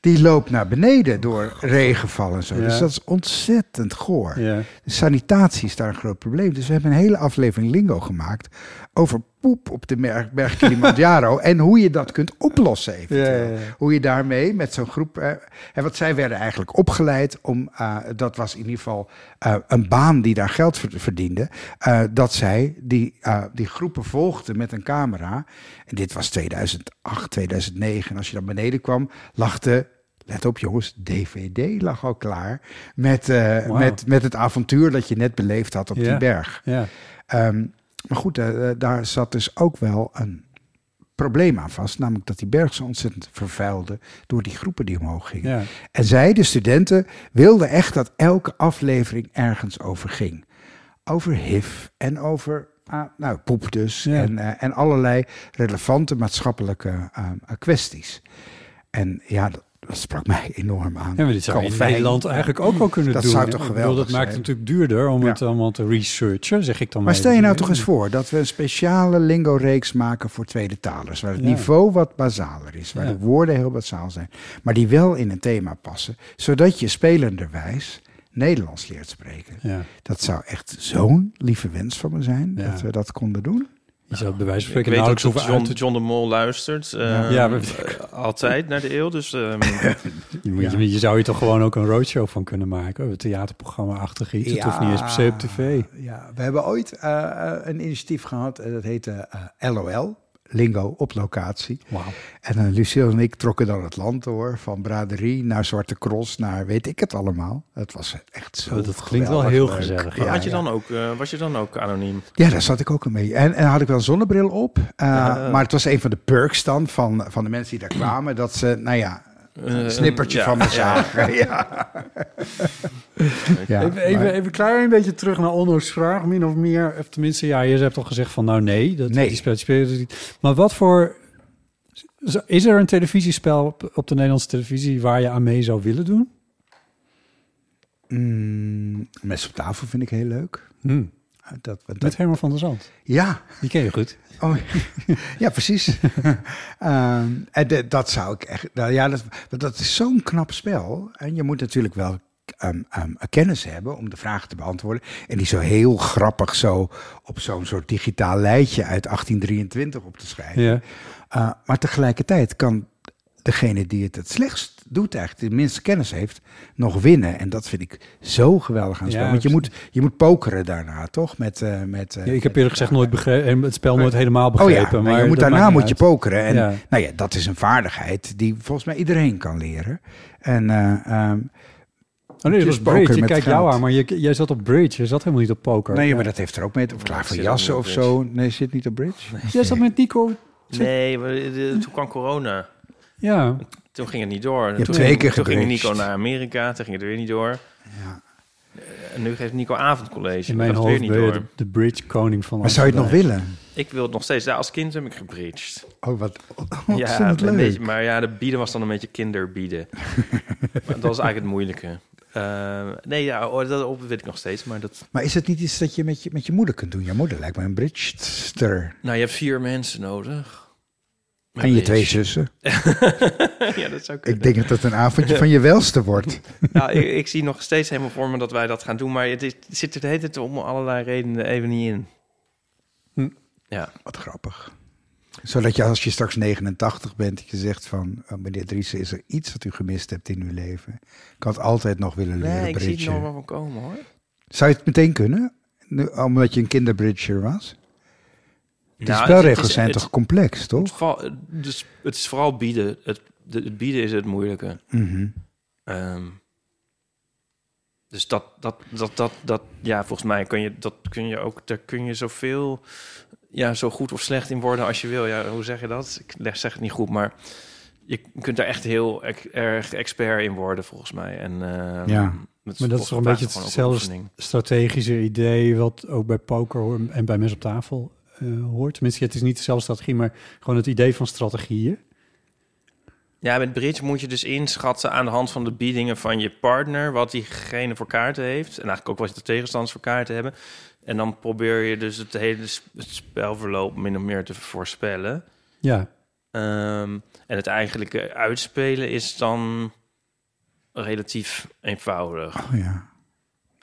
S3: die loopt naar beneden door regenval en zo.
S1: Ja.
S3: Dus dat is ontzettend goor.
S1: Ja.
S3: De sanitatie is daar een groot probleem. Dus we hebben een hele aflevering Lingo gemaakt over poep op de berg, berg Kilimanjaro en hoe je dat kunt oplossen even
S1: Ja, ja,
S3: hoe je daarmee met zo'n groep. eh, en wat zij werden eigenlijk opgeleid om. eh, dat was in ieder geval eh, een baan die daar geld ver- verdiende. eh, dat zij die, eh, die groepen volgden met een camera. En dit was 2008, 2009. En als je dan beneden kwam, lag de. Let op jongens, DVD lag al klaar. Met, eh,
S1: Wauw.
S3: met, met het avontuur dat je net beleefd had op
S1: Ja,
S3: die berg.
S1: ja.
S3: Ehm, maar goed, eh, eh, daar zat dus ook wel een probleem aan vast. Namelijk dat die berg zo ontzettend vervuilde door die groepen die omhoog gingen.
S1: Ja.
S3: En zij, de studenten, wilden echt dat elke aflevering ergens over ging. Over HIV en over ah, nou, poep dus. En, eh, en allerlei relevante maatschappelijke eh, kwesties. En ja, dat, dat sprak mij enorm aan.
S1: Ja, maar dit zou je in
S3: Calvijn.
S1: Nederland eigenlijk ook al kunnen
S3: dat
S1: doen.
S3: zou
S1: hè?
S3: toch
S1: Ik
S3: geweldig
S1: bedoel, Dat maakt het
S3: zijn.
S1: natuurlijk duurder om het allemaal te researchen, zeg ik dan
S3: Maar
S1: even.
S3: stel je nou toch eens voor dat we een speciale lingo-reeks maken voor tweede talers. Waar het
S1: Ja.
S3: niveau wat basaler is. Waar
S1: Ja.
S3: de woorden heel basaal zijn. Maar die wel in een thema passen. Zodat je spelenderwijs Nederlands leert spreken.
S1: Ja.
S3: Dat zou echt zo'n lieve wens van me zijn.
S1: Ja.
S3: Dat we dat konden doen.
S1: Je zou bij wijze van
S2: Ik
S1: spreken
S2: weet ook
S1: nauwelijks
S2: dat
S1: hoeven
S2: John,
S1: uit te...
S2: John de Mol luistert. eh,
S1: (laughs) Ja, we-
S2: eh, altijd naar de eeuw. Dus (laughs) ehm,
S1: Je, moet- je zou je toch gewoon ook een roadshow van kunnen maken. Een theaterprogramma-achtig iets. Het hoeft niet eens per se op tv.
S3: Ja, we hebben ooit eh, eh, een initiatief gehad. en dat heette eh, LOL. Lingo op locatie. En eh, Lucille en ik trokken dan het land door. Van braderie naar Zwarte Cross naar weet ik het allemaal. Het was echt zo
S1: Oh, dat klinkt wel
S3: geweldig
S1: heel
S3: leuk.
S1: gezellig,
S2: maar
S3: Ja,
S2: had je
S3: ja.
S2: dan ook, eh, was je dan ook anoniem?
S3: Ja, daar zat ik ook een beetje. En, en had ik wel een zonnebril op. eh,
S2: Ja.
S3: Maar het was een van de perks dan van, van de mensen die daar kwamen. Dat ze, nou ja,
S2: Eh,
S3: een snippertje
S2: ja,
S3: van me
S2: ja. (laughs)
S3: zagen. Ja. Ja,
S1: even, even,
S3: maar-
S1: even klaar een beetje terug naar Onno's vraag, min of meer. Of tenminste, ja, je hebt al gezegd van nou nee, dat die spel die speel je dus niet. Maar wat voor... Is er een televisiespel op, op de Nederlandse televisie waar je aan mee zou willen doen?
S3: Mm, mes op tafel vind ik heel leuk.
S1: Hmm.
S3: Dat, dat,
S1: Met Herman van der Zand.
S3: Ja.
S1: Die ken je goed.
S3: Oh, (laughs) ja,
S1: (laughs)
S3: precies. Ehm, en de- dat zou ik echt. Nou, ja, dat, want dat is zo'n knap spel. En je moet natuurlijk wel ehm, ehm, kennis hebben om de vraag te beantwoorden. En die zo heel grappig zo op zo'n soort digitaal lijstje uit 1823 op te schrijven.
S1: Ja.
S3: Eh, maar tegelijkertijd kan degene die het het slechtst doet, eigenlijk, die de minste kennis heeft, nog winnen. En dat vind ik zo geweldig aan het
S1: Ja,
S3: spel. Want je moet, je moet pokeren daarna, toch? Met, eh, met, eh,
S1: Ja, ik heb eerlijk gezegd nooit begrepen, het spel nooit helemaal
S3: Oh
S1: begrepen.
S3: ja, maar, je
S1: dat
S3: moet,
S1: maakt
S3: daarna
S1: niet
S3: moet
S1: uit.
S3: je pokeren. En
S1: Ja.
S3: nou ja, dat is een vaardigheid die volgens mij iedereen kan leren. En eh, ehm,
S1: Oh nee, dat
S3: dus
S1: was bridge. Ik
S3: met
S1: kijk
S3: geld.
S1: jou aan, maar je, jij zat op bridge. Je zat helemaal niet op poker.
S3: Nee, maar dat heeft er ook mee. te- Of klaar
S2: Ik
S3: voor
S2: zit ook
S3: jassen
S2: niet
S3: of
S2: op
S3: zo. Nee, zit niet op bridge.
S1: Jij zat met Nico...
S2: Nee, maar, eh, de- toen kwam corona.
S1: Ja.
S2: Toen ging het niet door.
S3: hebt
S2: toen
S3: twee
S2: ging,
S3: keer
S2: Toen ging
S3: gebridged.
S2: Nico naar Amerika. Toen ging het weer niet door. Eh, En nu geeft Nico avondcollege. Dat
S1: In mijn
S2: gaat het weer
S1: hoofd
S2: niet
S1: ben je
S2: door.
S1: de, de bridge koning van
S3: Maar zou je het nog
S1: Amsterdam.
S3: willen?
S2: Ik wil het nog steeds. Ja, als kind heb ik gebridged.
S3: Oh, wat
S2: ja,
S3: ontzettend
S2: een
S3: leuk.
S2: beetje, maar ja, de bieden was dan een beetje (laughs) kinderbieden. maar dat was eigenlijk het moeilijke. Eh, nee, ja, oh, dat op- weet ik nog steeds. Maar dat,
S3: Maar is het niet iets dat je met je, met je moeder kunt doen? Je moeder lijkt me een bridgester.
S2: nou, je hebt vier mensen nodig. Met
S3: En je
S2: bridge.
S3: twee
S1: (laughs)
S2: (laughs)
S3: zussen.
S2: ja, dat zou kunnen.
S3: Ik denk dat het een avondje van je welste wordt.
S2: Nou, ik, ik zie nog steeds helemaal voor me dat wij dat gaan doen. Maar het, is, het zit er de hele tijd om allerlei redenen even niet in. Ja.
S3: Wat grappig. Zodat je als je straks 89 bent, dat je zegt van... eh, meneer Driessen, is er iets wat u gemist hebt in uw leven? Ik had altijd nog willen leren
S2: Nee, ik zie het nog
S3: bridgen.
S2: wel van komen hoor.
S3: Zou je het meteen kunnen? Nu, omdat je een kinderbridger was? De
S2: Nou,
S3: spelregels
S2: het is-
S3: zijn
S2: het-
S3: toch complex,
S2: Het,
S3: toch?
S2: val- dus het is vooral bieden. Het, de- het bieden is het moeilijke.
S3: Mhm.
S2: Ehm, dus dat, dat, dat, dat, dat, ja, volgens mij kun je, dat kun je ook, daar kun je zoveel, ja, zo goed of slecht in worden als je wil. Ja, hoe zeg je dat? Ik leg- zeg het niet goed, maar e-, je kunt daar echt heel ek- erg expert in worden, volgens mij. En, ehm,
S3: Ja.
S1: Maar dat is toch een beetje hetzelfde strategische idee wat ook bij poker hoor- en bij mensen op tafel eh, hoort. Tenminste, het is niet dezelfde strategie, maar gewoon het idee van strategieën.
S2: Ja, met bridge moet je dus inschatten aan de hand van de biedingen van je partner... wat diegene voor kaarten heeft. En eigenlijk ook wat de tegenstanders voor kaarten hebben. En dan probeer je dus het hele sp- het spelverloop min of meer te voorspellen.
S1: Ja.
S2: Ehm, en het eigenlijke uitspelen is dan relatief eenvoudig.
S3: Oh ja.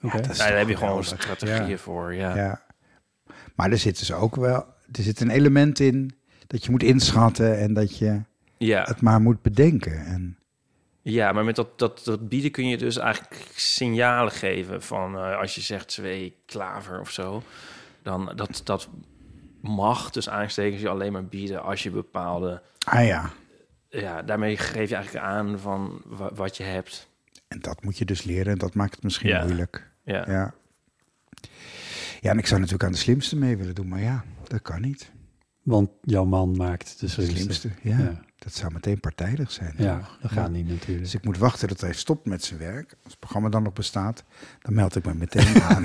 S1: Oké.
S3: dat is
S2: daar
S3: toch
S2: heb je gewoon
S3: geweldig.
S2: strategieën
S3: Ja.
S2: voor, ja.
S3: Ja. Maar er zit dus ook wel er zit een element in dat je moet inschatten en dat je
S2: Ja.
S3: het maar moet bedenken. En,
S2: Ja, maar met dat, dat, dat bieden kun je dus eigenlijk signalen geven van eh, als je zegt twee klaver of zo, dan dat, dat mag dus aanstekens je alleen maar bieden als je bepaalde.
S3: ah ja,
S2: Ja, daarmee geef je eigenlijk aan van wa- wat je hebt.
S3: en dat moet je dus leren en dat maakt het misschien
S2: Ja.
S3: moeilijk.
S2: Ja.
S3: ja. Ja, en ik zou natuurlijk aan de slimste mee willen doen, maar ja, dat kan niet.
S1: Want jouw man maakt de
S3: De
S1: slimste.
S3: slimste, ja. Dat zou meteen partijdig zijn.
S1: Ja, dat gaat
S3: niet
S1: natuurlijk.
S3: Dus ik moet wachten tot hij stopt met zijn werk. Als het programma dan nog bestaat, dan meld ik me meteen (laughs) aan.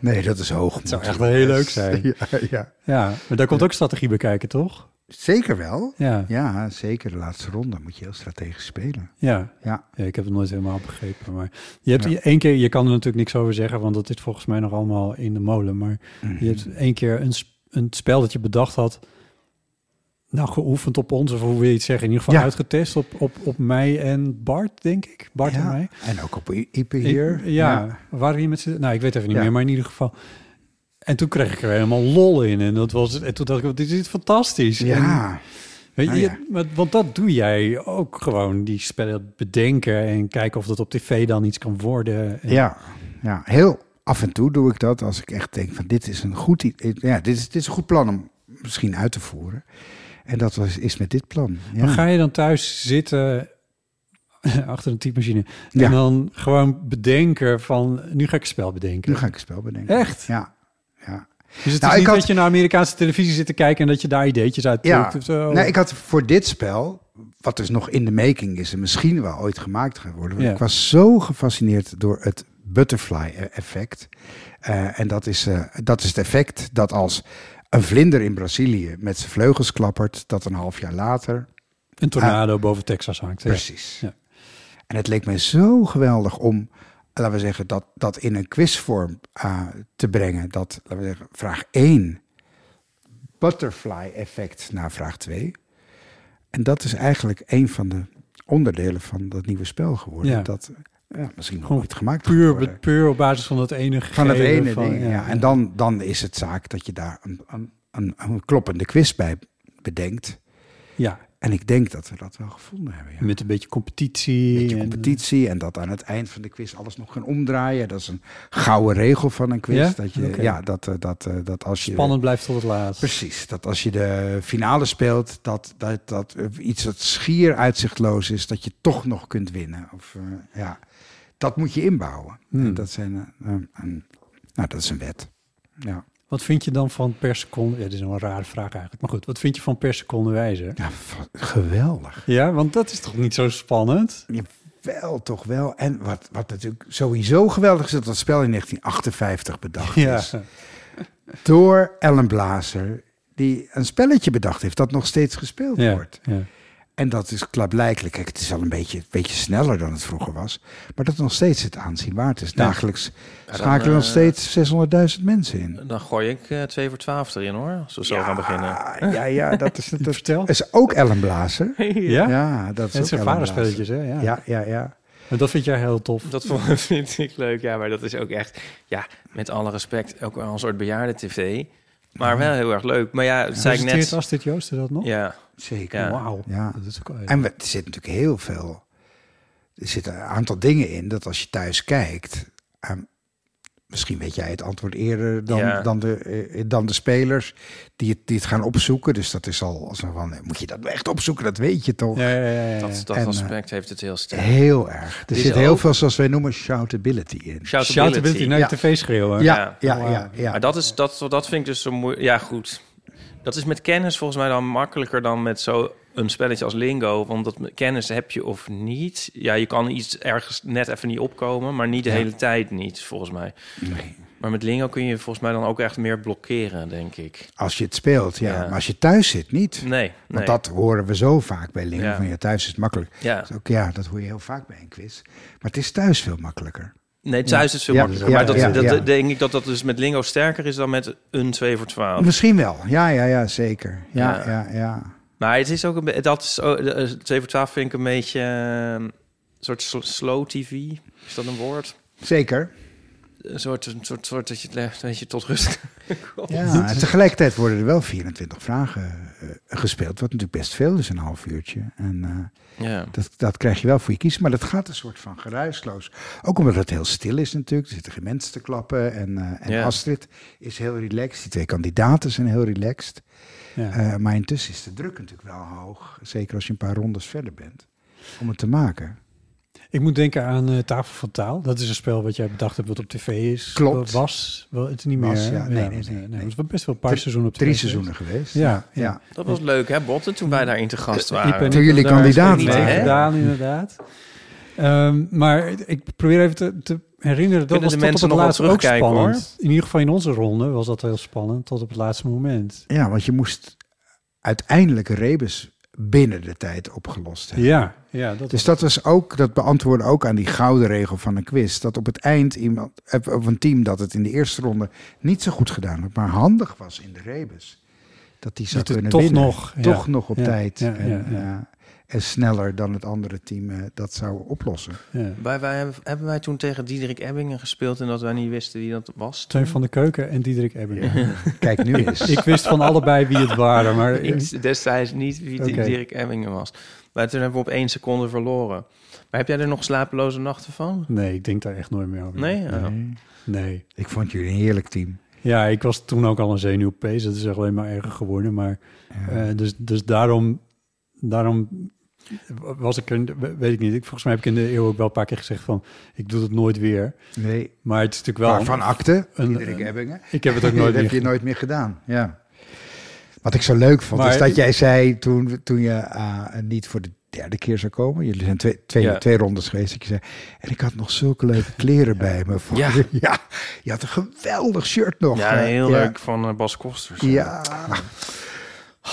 S3: nee, dat is hoog.
S1: Het zou echt heel leuk
S3: (laughs)
S1: zijn.
S3: Ja, ja.
S1: Ja, maar daar komt ook strategie bij kijken, toch?
S3: Zeker wel.
S1: Ja.
S3: ja, zeker. De laatste ronde moet je heel strategisch spelen.
S1: Ja.
S3: Ja.
S1: ik heb het nooit helemaal begrepen. Maar je hebt
S3: Ja.
S1: je- één keer, je kan er natuurlijk niks over zeggen, want dat is volgens mij nog allemaal in de molen. Maar je
S3: Mhm.
S1: hebt één keer een, sp- een spel dat je bedacht had, nou geoefend op ons, of hoe wil je het zeggen, in ieder geval
S3: Ja.
S1: uitgetest op, op, op mij en Bart, denk ik. Bart en mij.
S3: En ook op I- Ipe hier.
S1: Ik- ja, waren we hier met z'n... Nou, ik weet even niet
S3: Ja.
S1: meer, maar in ieder geval... En toen kreeg ik er helemaal lol in. En, dat was, en toen dacht ik, dit is fantastisch.
S3: Ja.
S1: En- weet je,
S3: Nou ja.
S1: je- maar- want dat doe jij ook gewoon, die spellen bedenken... en kijken of dat op tv dan iets kan worden. En-
S3: Ja, ja, heel af en toe doe ik dat als ik echt denk van dit is een goed, i- ja, dit is, dit is een goed plan om misschien uit te voeren. En dat was, is met dit plan. Ja.
S1: Maar ga je dan thuis zitten (laughs) achter een typemachine... en
S3: Ja.
S1: dan gewoon bedenken van, nu ga ik een spel bedenken?
S3: Nu ga ik een spel bedenken.
S1: Echt?
S3: Ja. ja.
S1: Dus het
S3: Nou,
S1: is
S3: ik
S1: niet
S3: had-
S1: dat je naar Amerikaanse televisie zit te kijken... en dat je daar ideetjes uit
S3: Ja,
S1: plukt of zo?
S3: nou, ik had voor dit spel, wat dus nog in de making is en misschien wel ooit gemaakt gaat worden. want
S1: Ja.
S3: Ik was zo gefascineerd door het butterfly eh, effect. Eh, en dat is, eh, dat is het effect dat als een vlinder in Brazilië met zijn vleugels klappert, dat een half jaar later
S1: Een tornado boven Texas hangt. ja.
S3: Ah. Precies.
S1: Ja.
S3: En het leek mij zo geweldig om, laten we zeggen, dat, dat in een quizvorm eh, te brengen. Dat, laten we zeggen, vraag 1, butterfly effect naar vraag 2. En dat is eigenlijk een van de onderdelen van dat nieuwe spel geworden.
S1: Ja.
S3: Dat ja, misschien nog
S1: Gewoon
S3: ooit gemaakt gaat
S1: Puur,
S3: worden.
S1: puur op basis van dat ene
S3: Van het
S1: gegeven
S3: ene
S1: van-
S3: ding, ja. En dan, dan is het zaak dat je daar een, een, een, een kloppende quiz bij bedenkt.
S1: Ja.
S3: En ik denk dat we dat wel gevonden hebben. ja.
S1: Met een beetje competitie.
S3: beetje competitie en dat aan het eind van de quiz alles nog gaan omdraaien. Dat is een gouden regel van een quiz.
S1: Ja?
S3: Dat je,
S1: Oké.
S3: ja, dat, eh, dat, eh, dat als je,
S1: Spannend blijft tot het laatst.
S3: Precies, dat als je de finale speelt, dat, dat, dat eh, iets dat schier uitzichtloos is, dat je toch nog kunt winnen. Of, eh, ja, dat moet je inbouwen.
S1: Hmm.
S3: En Dat, zijn, eh, eh, een- nou, dat is een wet. Ja.
S1: Wat vind je dan van per seconde? Ja, dit is een rare vraag eigenlijk. Maar goed, wat vind je van per seconde wijzer?
S3: Ja, geweldig.
S1: Ja, want dat is toch niet zo spannend?
S3: Wel, toch wel. En wat, wat natuurlijk sowieso geweldig is, dat dat spel in 1958 bedacht
S1: Ja.
S3: is. door Ellen Blazer, die een spelletje bedacht heeft dat nog steeds gespeeld
S1: Ja,
S3: wordt.
S1: ja.
S3: En dat is klaarblijkelijk, kijk, het is al een beetje, beetje sneller dan het vroeger was, maar dat nog steeds het aanzien waard is.
S2: Ja.
S3: Dagelijks
S2: dan,
S3: schakelen nog
S2: eh,
S3: steeds 600.000 mensen in.
S2: Dan gooi ik eh, twee voor twaalf erin hoor, als we zo gaan beginnen.
S3: Ja, ja, dat
S1: (laughs)
S3: is, dat is ook Ellen Blazer.
S1: Ja?
S3: dat is
S1: Het
S3: ook
S1: zijn
S3: Ellen
S1: vaderspelletjes,
S3: Blazer.
S1: hè? Ja.
S3: ja, ja. ja.
S1: En dat vind jij heel tof.
S2: Dat vond- vind ik leuk, ja, maar dat is ook echt, ja, met alle respect, ook wel een soort bejaarden-tv. Maar wel heel erg leuk. Maar ja, dus dat zei ik net.
S1: Presenteert Astrid Joosten dat nog?
S2: Ja.
S3: Zeker.
S2: Ja.
S1: Wauw.
S3: Ja.
S1: Dat is ook wel-
S3: En we- er zit natuurlijk heel veel. Er zitten een aantal dingen in dat als je thuis kijkt. ehm, misschien weet jij het antwoord eerder dan,
S2: Ja.
S3: dan, de, eh, dan de spelers die het, die het gaan opzoeken. Dus dat is al. Als een van, eh, moet je dat echt opzoeken? Dat weet je toch?
S2: Dat, dat
S3: En, eh,
S2: aspect heeft het heel sterk.
S3: Heel erg. Er
S2: Dit
S3: zit
S2: is
S3: heel
S2: ook-
S3: veel, zoals wij noemen, shoutability in.
S2: Shoutability.
S1: naar de Nou, tv schreeuwen.
S3: Ja, ja, ja. ja,
S2: Maar dat, is, dat, dat vind ik dus zo moeilijk. Ja, goed. Dat is met kennis volgens mij dan makkelijker dan met zo een spelletje als Lingo, want dat kennis heb je of niet. Ja, je kan iets ergens net even niet opkomen, maar niet de
S3: Ja.
S2: hele tijd niet, volgens mij. Maar met Lingo kun je volgens mij dan ook echt meer blokkeren, denk ik.
S3: Als je het speelt, ja.
S2: Ja.
S3: Maar als je thuis zit, niet.
S2: Nee, nee.
S3: Want dat horen we zo vaak bij Lingo.
S2: Ja.
S3: Van ja, thuis is het makkelijk.
S2: Ja.
S3: Dus ook, ja, dat hoor je heel vaak bij een quiz. Maar het is thuis veel makkelijker.
S2: Nee, thuis is veel
S3: Ja,
S2: makkelijker.
S3: ja,
S2: maar dat,
S3: ja,
S2: dat,
S3: ja.
S2: denk ik dat dat dus met Lingo sterker is dan met een 2 voor 12.
S3: Misschien wel. Ja, ja, ja, zeker. Ja,
S2: Ja.
S3: ja, ja. ja.
S2: Maar het is ook een be- dat is, oh, de, eh, 7 voor 12 vind ik een beetje eh, een soort sl- slow TV. Is dat een woord?
S3: Zeker.
S2: Een soort, een soort, soort dat je het le- dat je tot rust (laughs) komt.
S3: Ja, Nou, en tegelijkertijd worden er wel 24 vragen eh, gespeeld, wat natuurlijk best veel is, een half uurtje. En eh,
S2: Ja.
S3: dat, dat krijg je wel voor je kiezen, maar dat gaat een soort van geruisloos. Ook omdat het heel stil is natuurlijk, er zitten geen mensen te klappen. En, eh, en
S2: Ja.
S3: Astrid is heel relaxed, die twee kandidaten zijn heel relaxed.
S1: Ja.
S3: Eh, maar intussen is de druk natuurlijk wel hoog, zeker als je een paar rondes verder bent, om het te maken.
S1: Ik moet denken aan eh, Tafel van Taal. Dat is een spel wat jij bedacht hebt wat op tv is.
S3: Klopt.
S1: Was. Wel, het is niet
S3: Was,
S1: meer. hè?
S3: ja. Nee, nee,
S1: was-
S3: nee,
S1: Het was wel best wel een paar
S3: Drie-
S1: seizoenen op tv
S3: drie seizoenen geweest.
S1: Ja.
S3: Ja, ja.
S2: Dat was leuk, hè, Botten, toen wij daar in te gast
S1: Ik ben
S2: waren.
S1: niet
S3: jullie
S1: daar
S3: kandidaat
S1: mee
S3: waren.
S1: gedaan, inderdaad. Ehm, maar ik probeer even te, te herinneren. Dat
S2: Kunnen
S1: was
S2: de
S1: tot op
S2: mensen nog wel
S1: het laatst ook
S2: terugkijken,
S1: spannend.
S2: hoor.
S1: In ieder geval in onze ronde was dat heel spannend. Tot op het laatste moment.
S3: Ja, want je moest uiteindelijk Rebus binnen de tijd opgelost hebben.
S1: Ja, ja, dat
S3: dus dat was ook, dat beantwoordde ook aan die gouden regel van een quiz. Dat op het eind iemand, eh, of een team dat het in de eerste ronde niet zo goed gedaan had, maar handig was in de Rebus. Dat die zou
S1: Dat het
S3: kunnen
S1: toch
S3: winnen.
S1: nog, ja.
S3: toch nog op
S1: Ja,
S3: tijd.
S1: ja,
S3: en,
S1: ja, ja.
S3: eh, en sneller dan het andere team eh, dat zou oplossen.
S2: Wij, wij hebben, hebben wij toen tegen Diederik Ebbingen gespeeld en dat wij niet wisten wie dat was.
S1: Teun van de Keuken en Diederik Ebbingen.
S2: Ja.
S3: Kijk nu eens.
S1: (laughs) Ik wist van
S3: (laughs)
S1: allebei wie het
S2: (laughs)
S1: waren, maar...
S2: ik destijds niet wie
S1: Oké.
S2: Dirk Ebbingen was. Maar toen hebben we op één seconde verloren. Maar heb jij er nog slapeloze nachten van?
S1: Nee, ik denk daar echt nooit meer over.
S2: Nee? Ja.
S1: Nee.
S3: Ik vond jullie een heerlijk team.
S1: Ja, ik was toen ook al een zenuwpees. Dat is echt alleen maar erger geworden. Maar, eh, dus, dus daarom, daarom was ik een, weet ik niet. Ik, volgens mij heb ik in de eeuw ook wel een paar keer gezegd van... ik doe dat nooit weer.
S3: Nee.
S1: Maar het is natuurlijk wel...
S3: Waarvan akte,
S1: een-
S3: Diederik
S1: een-
S3: Ebbingen.
S1: Ik heb het
S3: (laughs)
S1: ook nooit
S3: dat
S1: meer
S3: heb je nooit meer gedaan, ja. Wat ik zo leuk vond,
S1: Maar-
S3: is dat jij zei toen, toen je eh, niet voor de derde keer zou komen. Jullie zijn twee, twee,
S2: Ja.
S3: twee rondes geweest. Dat je zei, en ik had nog zulke leuke kleren bij me. Voor
S2: Ja.
S3: ja. je (laughs) had een geweldig shirt nog.
S2: ja,
S3: eh,
S2: heel
S3: ja.
S2: leuk van eh, Bas Kosters.
S3: Ja.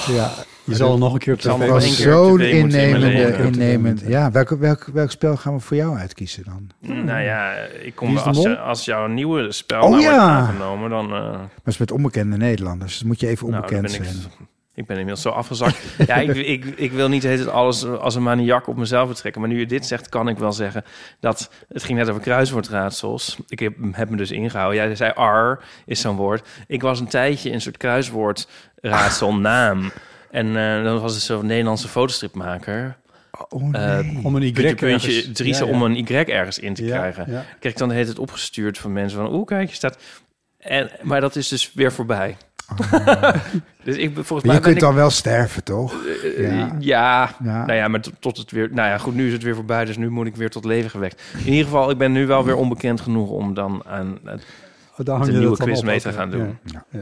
S3: ja.
S1: Je zal nog een keer op
S2: zal
S1: tv
S2: nog
S3: was
S2: een keer
S3: zo'n
S2: op tv moeten in mijn
S3: innemende,
S2: leven.
S3: innemend. Ja, welk, welk, welk spel gaan we voor jou uitkiezen dan?
S2: Nou ja, ik
S3: Wie
S2: kom,
S3: is de
S2: als,
S3: mol?
S2: je- als jouw nieuwe spel
S3: Oh
S2: nou wordt
S3: ja.
S2: aangenomen, dan... eh,
S3: Dat is met onbekende Nederlanders. Dus moet je even
S2: Nou, dan
S3: onbekend
S2: ben ik-
S3: zijn.
S2: Ik ben inmiddels zo afgezakt. (laughs) ja, ik, ik, ik wil niet het alles als een maniak op mezelf betrekken. Maar nu je dit zegt, kan ik wel zeggen dat het ging net over kruiswoordraadsels. Ik heb, heb me dus ingehouden. Jij zei R is zo'n woord. Ik was een tijdje een soort kruiswoordraadselnaam. En eh, dan was het zo'n Nederlandse fotostripmaker.
S3: Oh,
S2: nee.
S1: Om een Y
S2: puntje, puntje,
S1: ergens-
S2: Driessen
S1: ja, ja.
S2: om een Y ergens in te
S1: Ja,
S2: krijgen.
S1: ja.
S2: Kreeg ik dan de hele tijd opgestuurd van mensen van... Oeh, kijk, je staat... En, maar dat is dus weer voorbij. (laughs) dus ik, ben- volgens
S3: Maar
S2: mij
S3: je
S2: ben
S3: kunt
S2: ik-
S3: dan wel sterven, toch?
S2: eh,
S3: Ja.
S2: ja. ja,
S3: Ja.
S2: nou ja, maar tot, tot het weer... Nou ja, goed, nu is het weer voorbij, dus nu moet ik weer tot leven gewekt. In ieder geval, ik ben nu wel weer onbekend genoeg om dan aan het,
S1: Oh, daar hang
S2: de
S1: je
S2: nieuwe
S1: dat dan
S2: quiz
S1: op,
S2: mee
S1: oké,
S2: te gaan
S1: ja.
S2: doen.
S3: Nou, eh,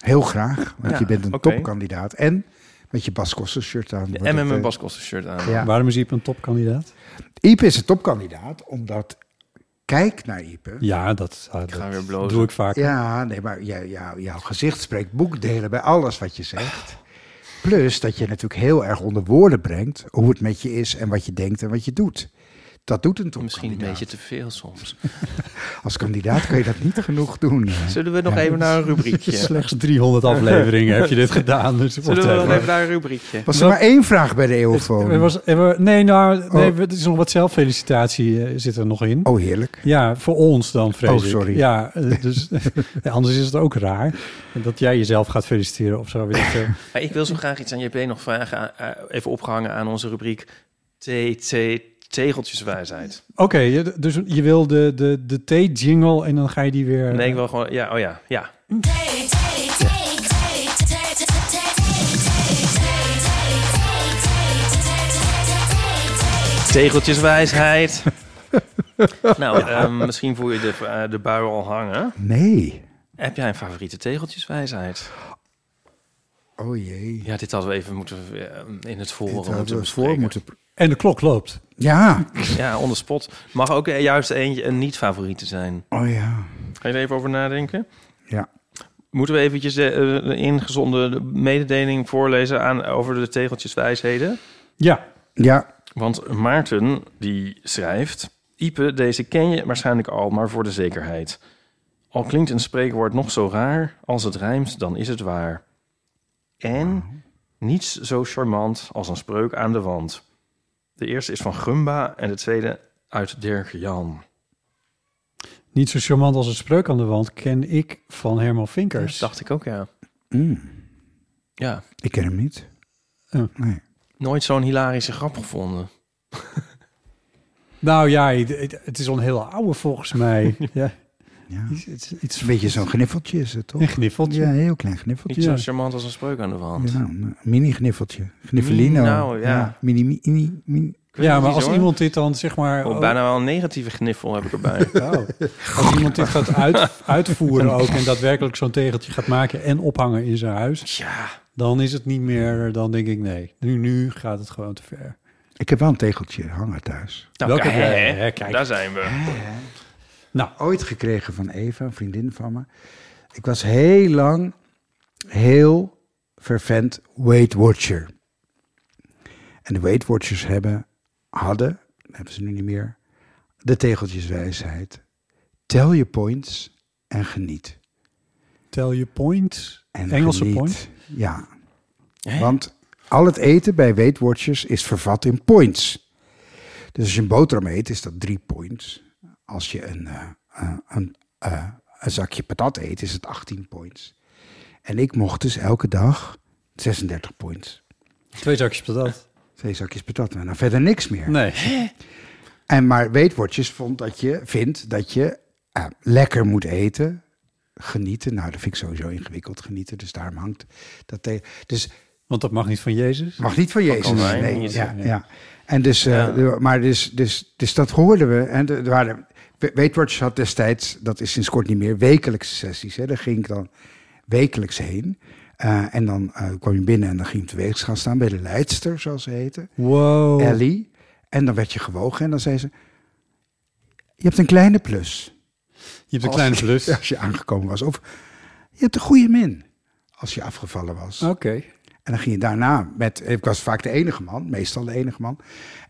S3: Heel graag, want
S2: Ja,
S3: je bent een
S2: oké.
S3: topkandidaat. En met je Bas Koster shirt aan. wordt
S2: En met
S3: het,
S2: mijn
S3: eh,
S2: Bas Koster shirt aan.
S3: Ja.
S1: Waarom is Iep een topkandidaat?
S3: Ipe is een topkandidaat, omdat... Kijk naar Ipe.
S1: Ja, dat, ah,
S2: ga
S1: dat
S2: weer blozen.
S1: doe ik vaak.
S3: Ja, nee, maar jou- jou- jouw gezicht spreekt boekdelen bij alles wat je zegt. Plus dat je natuurlijk heel erg onder woorden brengt... hoe het met je is en wat je denkt en wat je doet. Dat doet een
S2: Misschien een
S3: topkandidaat.
S2: beetje te veel soms.
S3: Als kandidaat kan je dat niet genoeg doen. eh.
S2: Zullen we nog even naar een
S3: (laughs)
S2: rubriekje?
S1: Slechts 300 afleveringen heb je dit gedaan. Dus
S2: Zullen we nog
S1: whatever.
S2: even naar een rubriekje?
S3: Was er maar één vraag bij de EOFO?
S1: Er was, er wa- nee, nou, nee,
S3: Oh.
S1: het is nog wat zelffelicitatie eh, zit er nog in.
S3: Oh, heerlijk.
S1: Ja, voor ons dan, vrees
S3: Oh,
S1: ik.
S3: sorry.
S1: Ja, eh, dus, (laughs) ja, anders is het ook raar dat jij jezelf gaat feliciteren of zo. Weet ik
S3: (laughs)
S1: veel.
S2: Maar ik wil zo graag iets aan JP nog vragen. eh, even opgehangen aan onze rubriek TT Tegeltjeswijsheid.
S1: Oké, je- dus je wil de, de, de thee-jingle en dan ga je die weer...
S2: Nee, ik wil gewoon... Ja, oh ja, ja. Tegeltjeswijsheid. nou, ehm, misschien voel je de, eh, de bui al hangen.
S3: Nee.
S2: Heb jij een favoriete tegeltjeswijsheid?
S3: Oh jee.
S2: Ja, dit hadden we even moeten eh, in het
S3: Dit
S2: forum
S3: hadden
S2: moeten
S3: we voor moeten...
S1: En de klok loopt.
S3: Ja.
S2: Ja, on the spot. Mag ook eh, juist eentje een niet-favoriete zijn.
S3: Oh ja.
S2: Ga je er even over nadenken?
S3: Ja.
S2: Moeten we eventjes de, eh, de ingezonde mededeling voorlezen aan, over de tegeltjes wijsheden?
S1: Ja.
S3: Ja.
S2: Want Maarten, die schrijft... Ipe, deze ken je waarschijnlijk al, maar voor de zekerheid. Al klinkt een spreekwoord nog zo raar, als het rijmt, dan is het waar. En niets zo charmant als een spreuk aan de wand. De eerste is van Gumba en de tweede uit Dirk Jan.
S1: Niet zo charmant als een spreuk aan de wand ken ik van Herman Vinkers.
S2: dacht ik ook, ja. Ja.
S3: Mm. Ik ken hem niet. Nee.
S2: Nooit zo'n hilarische grap gevonden.
S1: Nou ja, het, het- het is al een heel oude volgens
S3: (laughs)
S1: mij. ja. Iets, iets, iets-
S3: Een beetje zo'n gniffeltje is het, toch?
S1: Een gniffeltje.
S3: Ja, een heel klein gniffeltje.
S2: Niet zo charmant als een spreuk aan de wand.
S3: Ja, een mini-kniffeltje. Gniffelino.
S2: Nou, ja.
S3: mini, mini, mini, mini.
S2: Ik weet
S1: Ja,
S2: het
S1: maar
S2: niet,
S1: als
S2: hoor.
S1: iemand dit dan zeg maar...
S2: Oh,
S1: ook-
S2: bijna wel een negatieve gniffel heb ik
S3: (laughs)
S2: erbij.
S1: Oh. Als iemand dit gaat
S2: (laughs)
S1: uit, uitvoeren ook en daadwerkelijk zo'n tegeltje gaat maken en ophangen in zijn huis, dan is het niet meer, dan denk ik nee, nu, nu gaat het gewoon te ver.
S3: Ik heb wel een tegeltje hangen thuis.
S2: Nou,
S1: Welke
S2: kijk, hè,
S1: hè, kijk.
S2: Daar zijn we.
S1: Nou.
S3: Ooit gekregen van Eva, een vriendin van me. Ik was heel lang heel vervent Weight Watcher. En de Weight Watchers hebben, hadden, dat hebben ze nu niet meer, de tegeltjeswijsheid. Tel je points en geniet.
S1: Tel je point,
S3: En
S1: Engelse
S3: geniet.
S1: point.
S3: Ja. Want al het eten bij Weight Watchers is vervat in points. Dus als je een boterham eet, is dat drie points. Als je een, eh, eh, een, eh, een zakje patat eet, is het 18 points. En ik mocht dus elke dag 36 points.
S1: Twee zakjes patat.
S3: Twee zakjes patat. Nou, verder niks meer.
S1: Nee.
S3: En maar Weight Watchers vond dat je, vindt dat je eh, lekker moet eten. Genieten. Nou, dat vind ik sowieso ingewikkeld, genieten. Dus daarom hangt dat tegen. Dus,
S1: Want dat mag niet van Jezus?
S3: Mag niet van Jezus.
S1: Calvijn,
S3: nee,
S1: niet,
S3: ja,
S1: nee.
S3: ja. En dus, eh, de- maar dus, dus, dus dat hoorden we. En de- er waren, We- Weight Watchers had destijds, dat is sinds kort niet meer, wekelijkse sessies. Hè. Daar ging ik dan wekelijks heen. Eh, en dan eh, kwam je binnen en dan ging je op de weegschaal gaan staan bij de leidster, zoals ze heette.
S1: Wow.
S3: Ellie. En dan werd je gewogen en dan zei ze... Je hebt een kleine plus.
S1: Je hebt een
S3: Als-
S1: kleine plus.
S3: (laughs) Als je aangekomen was. Of je hebt een goede min. Als je afgevallen was.
S1: Oké.
S3: En dan ging je daarna met... Ik was vaak de enige man. Meestal de enige man.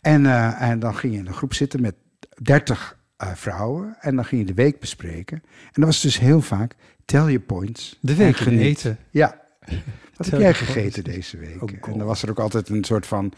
S3: En, eh, en dan ging je in een groep zitten met 30 eh, vrouwen. En dan ging je de week bespreken. En dat was dus heel vaak... Tel je points.
S1: De
S3: en
S1: week in
S3: geniet.
S1: eten. (laughs)
S3: Ja. Wat
S1: Tel
S3: heb jij
S1: je points.
S3: gegeten deze week? en dan was er ook altijd een soort van...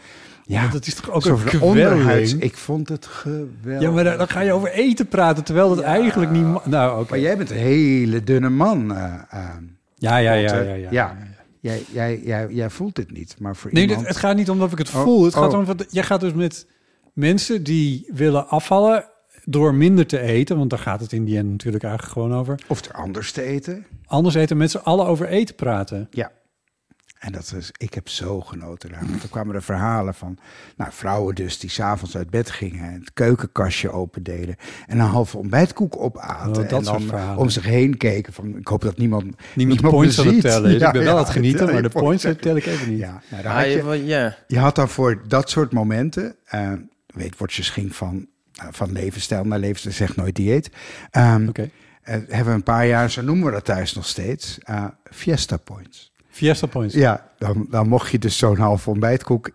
S3: Ja,
S1: Want dat is toch ook
S3: zo
S1: een
S3: van
S1: kwelling?
S3: onderhuids. Ik vond het geweldig.
S1: Ja, maar daar- dan ga je over eten praten, terwijl dat eigenlijk niet... ma- Nou, oké.
S3: Maar jij bent een hele dunne man. eh, eh,
S1: Ja, ja, ja,
S3: Walter.
S1: ja, ja.
S3: Jij, jij, jij, jij voelt dit niet, maar voor
S1: Nee,
S3: iemand...
S1: dit- het gaat niet om dat ik het
S3: Oh,
S1: voel. het gaat
S3: oh.
S1: om wat jij gaat dus met mensen die willen afvallen door minder te eten, want daar gaat het in die end natuurlijk eigenlijk gewoon over.
S3: Of er anders te eten.
S1: Anders eten met z'n allen over eten praten.
S3: Ja. En dat is, ik heb zo genoten daar. Want er kwamen er verhalen van nou, vrouwen dus die s'avonds uit bed gingen... en het keukenkastje opendeden en een halve ontbijtkoek opaten.
S1: Oh, dat
S3: en
S1: soort
S3: dan
S1: verhalen.
S3: om zich heen keken van... ik hoop dat niemand
S1: Niemand de points
S3: me
S1: aan het
S3: ziet.
S1: tellen is.
S3: Ja,
S1: ik ben wel
S3: ja,
S1: aan het genieten,
S3: tel je
S1: maar de points
S3: aan het
S1: tel ik even niet.
S3: Ja, (laughs) nou, daar
S2: Ah,
S3: had
S2: je,
S3: je,
S2: wel- ja.
S3: Je had dan voor dat soort momenten, eh weet Watchers ging van, eh, van levensstijl naar levensstijl, zegt nooit dieet. Ehm,
S1: Oké.
S3: eh, hebben we een paar jaar, zo noemen we dat thuis nog steeds, eh, Fiesta Points.
S1: Fiesta points.
S3: Ja, dan, dan mocht je dus zo'n half ontbijtkoek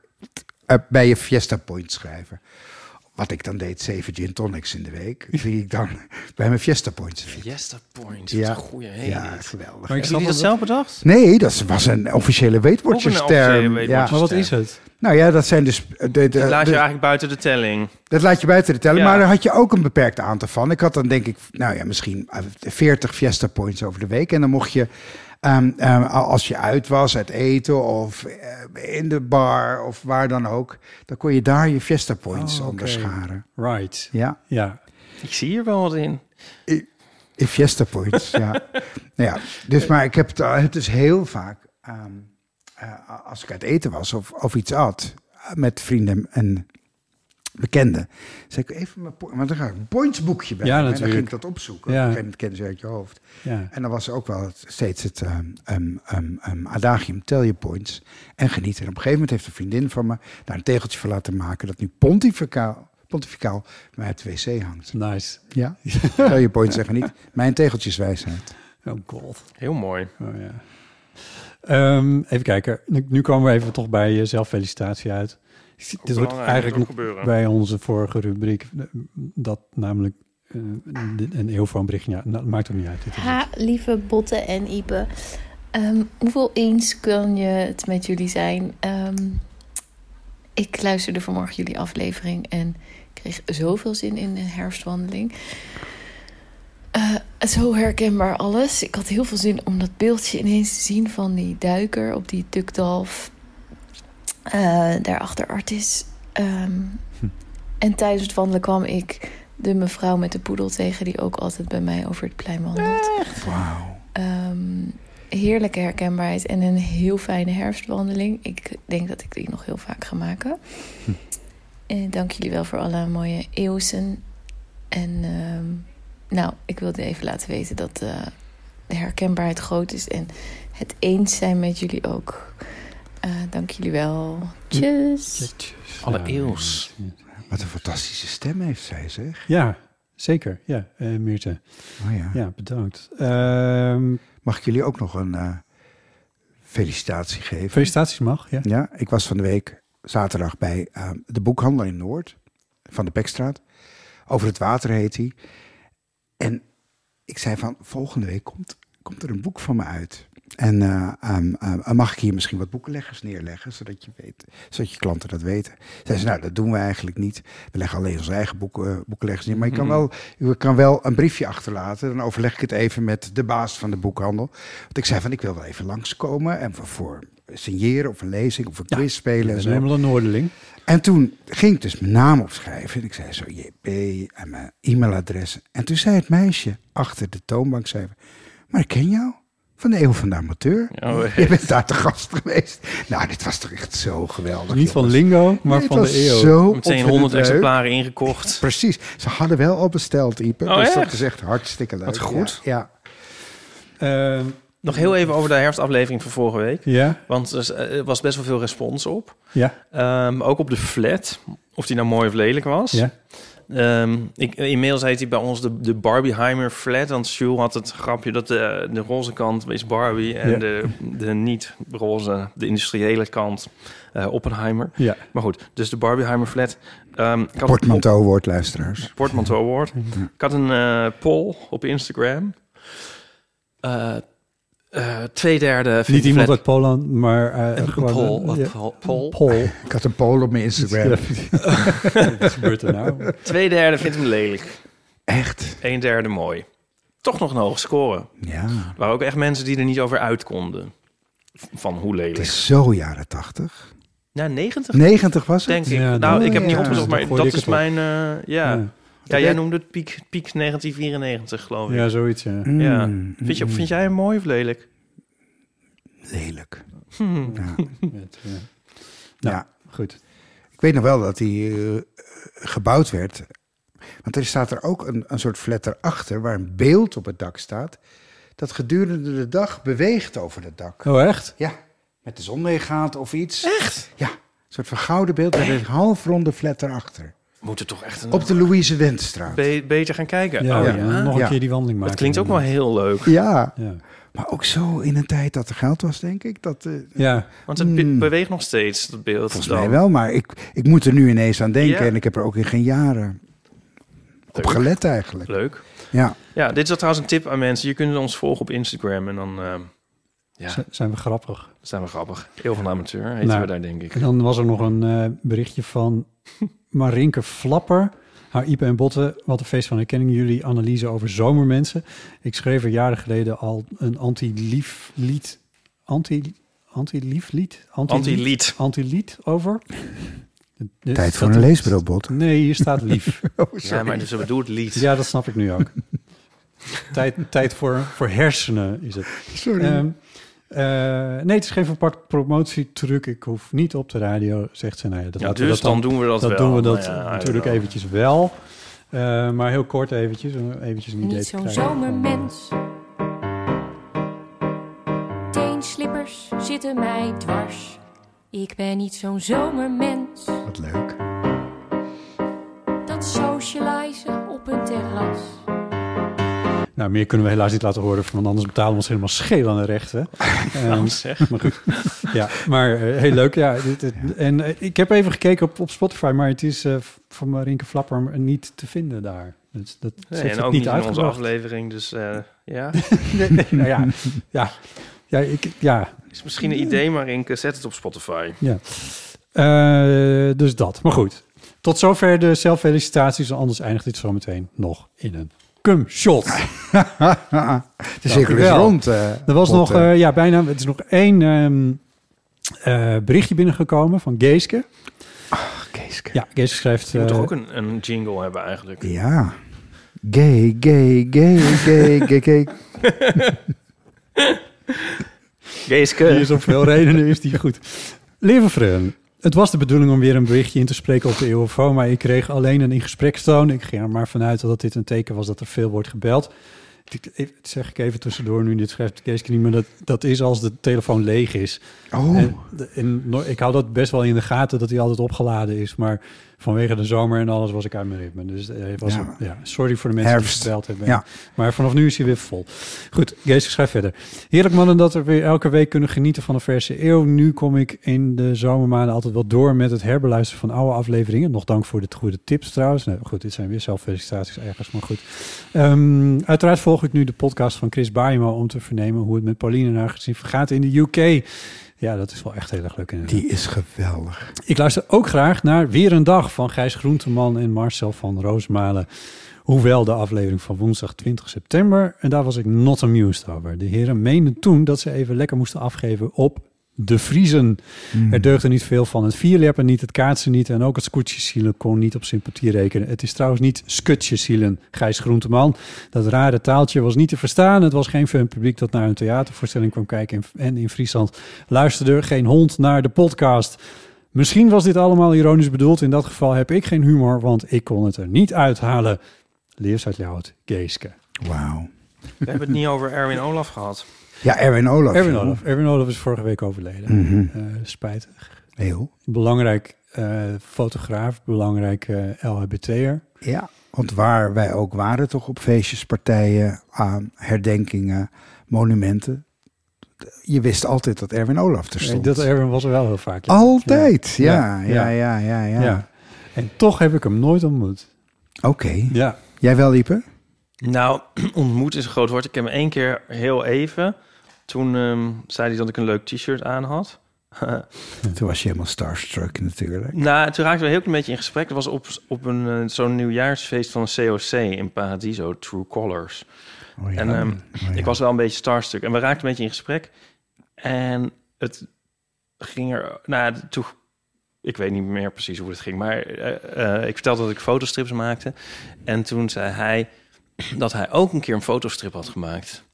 S3: eh, bij je Fiesta Points schrijven. Wat ik dan deed, zeven gin tonics in de
S2: (laughs)
S3: week, die ik dan bij mijn Fiesta Points. zit.
S2: Fiesta Point.
S3: Ja.
S2: Wat een goeie heen.
S3: Ja, geweldig.
S1: Maar
S2: Heb
S1: ik snap
S2: je dat
S1: dat
S2: zelf bedacht?
S3: Nee, dat was een officiële Weight
S2: Ook een
S3: Watchers
S2: officiële
S3: term.
S2: Weight
S3: Ja.
S2: Watchers
S1: Maar wat
S2: term.
S1: is het?
S3: Nou ja, dat zijn dus... eh, De, de,
S2: Dat laat je
S3: de-
S2: eigenlijk buiten de telling.
S3: Dat laat je buiten de teller.
S2: Ja.
S3: Maar daar had je ook een beperkt aantal van. Ik had dan denk ik, nou ja, misschien eh, 40 Fiesta Points over de week. En dan mocht je, ehm, ehm, als je uit was, uit eten of eh, in de bar of waar dan ook. Dan kon je daar je Fiesta Points
S1: Oh, oké.
S3: onderscharen.
S1: Right.
S3: Ja,
S1: Ja.
S2: Ik zie hier wel wat in.
S3: in Fiesta Points,
S1: (laughs)
S3: ja. Nou ja, dus maar ik heb het, eh, het dus heel vaak, ehm, eh, als ik uit eten was of, of iets at, eh, met vrienden en bekende. Zeg ik even mijn po- want dan ga ik een pointsboekje bij.
S1: Ja,
S3: en dan
S1: natuurlijk.
S3: ging ik dat opzoeken.
S1: Ja.
S3: Op een gegeven moment kende ze uit je hoofd.
S1: Ja.
S3: En dan was ook wel het- steeds het ehm, ehm, ehm, ehm, adagium, tel je points en geniet. En op een gegeven moment heeft een vriendin van me daar een tegeltje voor laten maken dat nu pontificaal, pontificaal bij het wc hangt.
S1: Nice.
S3: (laughs) Ja, tel je points en geniet. Mijn tegeltjeswijsheid.
S1: Oh god.
S2: Heel mooi.
S1: Oh, ja. Ehm, even kijken. Nu, nu komen we even toch bij eh, zelffelicitatie uit. Dit hoort
S2: belangrijk,
S1: eigenlijk
S2: moet ook
S1: nog
S2: gebeuren.
S1: bij onze vorige rubriek. eh, Dat namelijk eh, dit- een eeuwfoonbericht. Ja, nou, maakt ook niet uit. Dit is-
S6: Ha, lieve Botte en Ipe. Ehm, hoeveel eens kan je het met jullie zijn? Ehm, ik luisterde vanmorgen jullie aflevering en kreeg zoveel zin in een herfstwandeling. Eh, zo herkenbaar alles. Ik had heel veel zin om dat beeldje ineens te zien van die duiker op die tukdalf. eh daarachter Artis. Ehm,
S1: Hm.
S6: En tijdens het wandelen kwam ik de mevrouw met de poedel tegen... die ook altijd bij mij over het plein wandelt.
S3: Wauw.
S6: Ehm, heerlijke herkenbaarheid en een heel fijne herfstwandeling. Ik denk dat ik die nog heel vaak ga maken. En dank jullie wel voor alle mooie eeuwsen. En ehm, nou, ik wilde even laten weten dat eh, de herkenbaarheid groot is en het eens zijn met jullie ook. Eh, dank jullie wel. Tjus.
S2: Alle eeuws.
S3: Wat een fantastische stem heeft zij, zeg.
S1: Ja, zeker. Ja, eh Meerte.
S3: Oh ja.
S1: Ja, bedankt. Ehm,
S3: Mag ik jullie ook nog een eh, felicitatie geven?
S1: Felicitaties mag, ja.
S3: ik was van de week zaterdag bij eh, de boekhandel in Noord, van de Pekstraat. Over het water heet hij. En ik zei van, volgende week komt, komt er een boek van me uit. En eh, ehm, ehm, mag ik hier misschien wat boekenleggers neerleggen, zodat je, weet, zodat je klanten dat weten? Zei ze, nou, dat doen we eigenlijk niet. We leggen alleen onze eigen boeken, eh, boekenleggers neer. Maar je kan,
S7: Mhm.
S3: wel, je kan wel een briefje achterlaten. Dan overleg ik het even met de baas van de boekhandel. Want ik zei van, ik wil wel even langskomen en voor, voor signeren of een lezing of een quiz spelen.
S1: bent
S3: en zo.
S1: helemaal een Noorderling.
S3: En toen ging ik dus mijn naam opschrijven. En ik zei zo JP en mijn e-mailadres. En toen zei het meisje achter de toonbank, zei, maar ik ken jou van de Eeuw van de Amateur.
S2: Oh, Ja, hoor.
S3: Je bent daar te gast geweest. Nou, dit was toch echt zo geweldig.
S1: Niet van Lingo, maar
S3: Nee,
S1: van
S3: het
S1: de
S3: was
S1: eeuw.
S3: Zo
S2: Meteen
S3: ontzettend
S2: 100
S3: leuk.
S2: exemplaren ingekocht.
S3: Precies. Ze hadden wel al besteld, Ipe.
S2: Oh,
S3: dus dat
S2: echt?
S3: is echt hartstikke leuk.
S2: Wat goed.
S3: Ja.
S2: Nog heel even over de herfstaflevering van vorige week.
S1: Ehm, Ja.
S2: Want er is- eh, er was best wel veel respons op.
S1: Ja.
S2: Ehm, ook op de flat. Of die nou mooi of lelijk was.
S1: Ja.
S2: Ehm, ik, in mails heet hij bij ons de, de Barbieheimer flat. Want Jules had het grapje dat de, de roze kant is Barbie. En
S1: Ja.
S2: de, de niet-roze, de industriële kant, eh, Oppenheimer.
S1: Ja.
S2: Maar goed, dus de Barbieheimer flat. Ehm, ik had-
S3: Portmanteau wordt luisteraars.
S2: Portmanteau Award. Ik had een eh, poll op Instagram. Eh eh, twee derde
S1: Niet
S2: vindt
S1: iemand
S2: Fred-
S1: uit Poland, maar... eh,
S2: Een
S1: gewoon
S2: poll,
S1: een-
S2: een
S1: ja,
S2: poll, poll.
S1: poll.
S3: Ik had een poll op mijn Instagram.
S1: Wat gebeurt er (laughs) nou?
S2: Twee derde vindt hem lelijk. Echt? Een derde mooi. Toch nog een hoge score.
S3: Ja.
S2: Er waren ook echt mensen die er niet over uit konden. Van hoe lelijk.
S3: Het is zo jaren tachtig.
S2: Nou, 90?
S3: 90 was het?
S2: Denk ik.
S3: Ja,
S2: nou,
S3: dan-
S2: ik heb niet
S3: ja.
S2: opgezocht, maar
S3: Gooi
S2: dat
S3: ik
S2: is
S3: het op.
S2: mijn... eh, ja.
S3: Ja.
S2: Ja,
S3: jij-
S2: jij noemde het piek, piek 1994, geloof ik.
S1: Ja,
S3: (laughs)
S1: zoiets, ja.
S2: Ja.
S1: Mm,
S2: Vind, je,
S1: mm.
S2: vind jij hem mooi of lelijk?
S3: Lelijk.
S2: Hmm.
S1: (laughs)
S3: Ja.
S1: Met, eh, nou,
S3: Ja.
S1: goed.
S3: Ik weet nog wel dat die eh, gebouwd werd. Want er staat er ook een, een soort flat erachter waar een beeld op het dak staat. Dat gedurende de dag beweegt over het dak.
S1: Oh, echt?
S3: Ja, met de zon meegaat of iets. Echt? Ja, een soort van gouden beeld met een halfronde flat erachter.
S2: We moeten toch echt een...
S3: Op de Louise Wendstraat.
S2: Be- beter gaan kijken.
S1: Ja,
S2: Oh,
S1: ja, nog een
S3: Ja.
S1: keer die wandeling maken.
S2: Dat klinkt ook wel heel leuk.
S3: Ja.
S1: Ja.
S3: maar ook zo in een tijd dat er geld was, denk ik. Dat, eh, Hmm.
S1: Ja.
S2: Want het be- beweegt nog steeds, dat beeld.
S3: Volgens mij wel, maar ik, ik moet er nu ineens aan denken.
S2: Ja.
S3: En ik heb er ook in geen jaren op gelet eigenlijk.
S2: Leuk.
S3: Ja.
S2: Ja, dit is trouwens een tip aan mensen. Je kunt ons volgen op Instagram en dan ehm, ja,
S1: eh, Z- zijn we grappig.
S2: zijn we grappig. Heel van de amateur heten
S1: Nou,
S2: we daar, denk ik.
S1: En dan was er nog een eh, berichtje
S3: (laughs)
S1: van Marinke Flapper. Haar Ipe en Botten, wat een feest van herkenning. Jullie analyse over zomermensen. Ik schreef er jaren geleden al een anti-lieflied. Anti, anti-lieflied?
S2: Anti-lied.
S1: Anti-lied over.
S3: Tijd voor
S1: Dat-
S3: een leesbril, Bot.
S1: Nee, hier staat lief.
S2: ja, maar dus ze bedoelt lied.
S1: Ja, dat snap ik
S2: (laughs)
S1: nu ook. tijd tijd voor, voor hersenen is het.
S2: Sorry.
S1: Ehm, Eh, nee, het is geen verpakt promotietruc. Ik hoef niet op de radio, zegt ze. Nou ja, dat
S2: Ja,
S1: laten we
S2: dus
S1: dat
S2: dan doen we dat
S1: dat
S2: wel.
S1: doen we dat
S2: Nou ja,
S1: natuurlijk
S2: ja.
S1: eventjes wel. Eh, maar heel kort eventjes, om eventjes een idee
S7: Niet
S1: te
S7: zo'n
S1: krijgen.
S7: zomermens. Teenslippers zitten mij dwars. Ik ben niet zo'n zomermens.
S3: Wat leuk. (laughs)
S7: Dat socializen op een terras.
S1: Nou, meer kunnen we helaas niet laten horen, want anders betalen we ons helemaal scheel aan de
S2: (laughs)
S1: rechten.
S2: Nou,
S1: Ehm,
S2: zeg.
S1: Maar goed. Ja, maar eh, heel leuk. Ja, dit, dit- en eh, ik heb even gekeken op, op Spotify, maar het is eh, van Marinke Flapper niet te vinden daar. Dus dat ze
S2: Nee,
S1: heeft
S2: en
S1: het
S2: ook
S1: niet
S2: niet in onze
S1: uitgebracht.
S2: aflevering, dus eh, ja.
S1: Nee, nee, nou
S2: (laughs)
S1: ja, ja, ja, ik, ja.
S2: Is misschien een idee, maar Inke, zet het op Spotify.
S1: Ja. Eh, dus dat. Maar goed. Tot zover de zelffelicitaties. en Anders eindigt dit zo meteen nog in een cum shot.
S3: De cirkel is
S1: Dankjewel.
S3: rond. eh,
S1: er was
S3: Botte.
S1: nog, eh, ja, bijna. Het is nog één ehm, eh, berichtje binnengekomen van Geeske. Ach,
S2: Ah, Geeske.
S1: Ja, Geeske schrijft.
S2: Je moet
S1: eh,
S2: toch ook een, een jingle hebben eigenlijk?
S3: Ja. Gay, gay, gay, gay, gay, gay. (laughs)
S2: Geeske.
S1: Die is om veel redenen is die goed. Lieve vrienden, het was de bedoeling om weer een berichtje in te spreken op de EOFO, maar ik kreeg alleen een in gesprekstoon. Ik ging er maar vanuit dat dit een teken was dat er veel wordt gebeld. Dit- dit zeg ik even tussendoor nu, dit schrijft Kees niet, maar dat, dat is als de telefoon leeg is.
S3: Oh.
S1: En, de- en no- ik hou dat best wel in de gaten, dat hij altijd opgeladen is. Maar vanwege de zomer en alles was ik uit mijn ritme. Dus eh, was,
S3: Ja.
S1: ja, sorry voor de mensen
S3: Herfst.
S1: die gebeld hebben.
S3: Ja.
S1: Maar vanaf nu is hij weer vol. Goed, Gees schrijft verder. Heerlijk mannen dat we weer elke week kunnen genieten van een verse eeuw. Nu kom ik in de zomermaanden altijd wel door met het herbeluisteren van oude afleveringen. Nog dank voor de goede tips trouwens. Nou, goed, dit zijn weer zelffelicitaties ergens, maar goed. Ehm, uiteraard volg ik nu de podcast van Chris Baimo om te vernemen hoe het met Pauline en haar gezin vergaat in de UK. Ja, dat is wel echt heel erg leuk. inderdaad.
S3: Die is geweldig.
S1: Ik luister ook graag naar Weer een Dag van Gijs Groenteman en Marcel van Roosmalen. Hoewel de aflevering van woensdag 20 september, en daar was ik not amused over. De heren meenden toen dat ze even lekker moesten afgeven op de Vriezen. Er deugde niet veel van het vierleppen niet, het kaatsen niet en ook het scootjesielen kon niet op sympathie rekenen. Het is trouwens niet skutjesielen, Gijs Groenteman. Dat rare taaltje was niet te verstaan. Het was geen fun publiek dat naar een theatervoorstelling kwam kijken en- en in Friesland luisterde geen hond naar de podcast. Misschien was dit allemaal ironisch bedoeld. In dat geval heb ik geen humor, want ik kon het er niet uithalen. Leers uit Ljouwt, Geeske.
S3: Wauw.
S2: We hebben het niet over Erwin Olaf gehad.
S3: Ja, Erwin Olaf.
S1: Erwin
S3: joh.
S1: Olaf. Erwin Olaf is vorige week overleden.
S3: Mhm.
S1: Eh, spijtig.
S3: Heel.
S1: Belangrijk eh, fotograaf, belangrijk eh, LHBT'er.
S3: Ja, want waar wij ook waren, toch op feestjes, partijen, aan herdenkingen, monumenten. Je wist altijd dat Erwin Olaf er
S1: Nee,
S3: stond.
S1: Eh, Dat Erwin was er wel heel vaak.
S3: Oh.
S1: ja.
S3: Altijd, ja, ja, ja, ja, ja.
S1: En toch heb ik hem nooit ontmoet.
S3: Oké.
S1: Ja.
S3: Jij wel, Ieper?
S2: Nou, ontmoet is een groot woord. Ik heb hem één keer heel even. Toen ehm, zei hij dat ik een leuk t-shirt aan had.
S3: Toen was je helemaal starstruck natuurlijk.
S2: nou, toen raakten we heel klein beetje in gesprek. Dat was op, op een, eh, zo'n nieuwjaarsfeest van een COC in Paradiso, True Colors.
S3: Oh, ja.
S2: En ehm, ik was wel een beetje starstruck. En we raakten een beetje in gesprek. En het ging er... Nou, toen... Ik weet niet meer precies hoe het ging, maar eh, eh, ik vertelde dat ik fotostrips maakte. En toen zei hij dat hij ook een keer een fotostrip had gemaakt.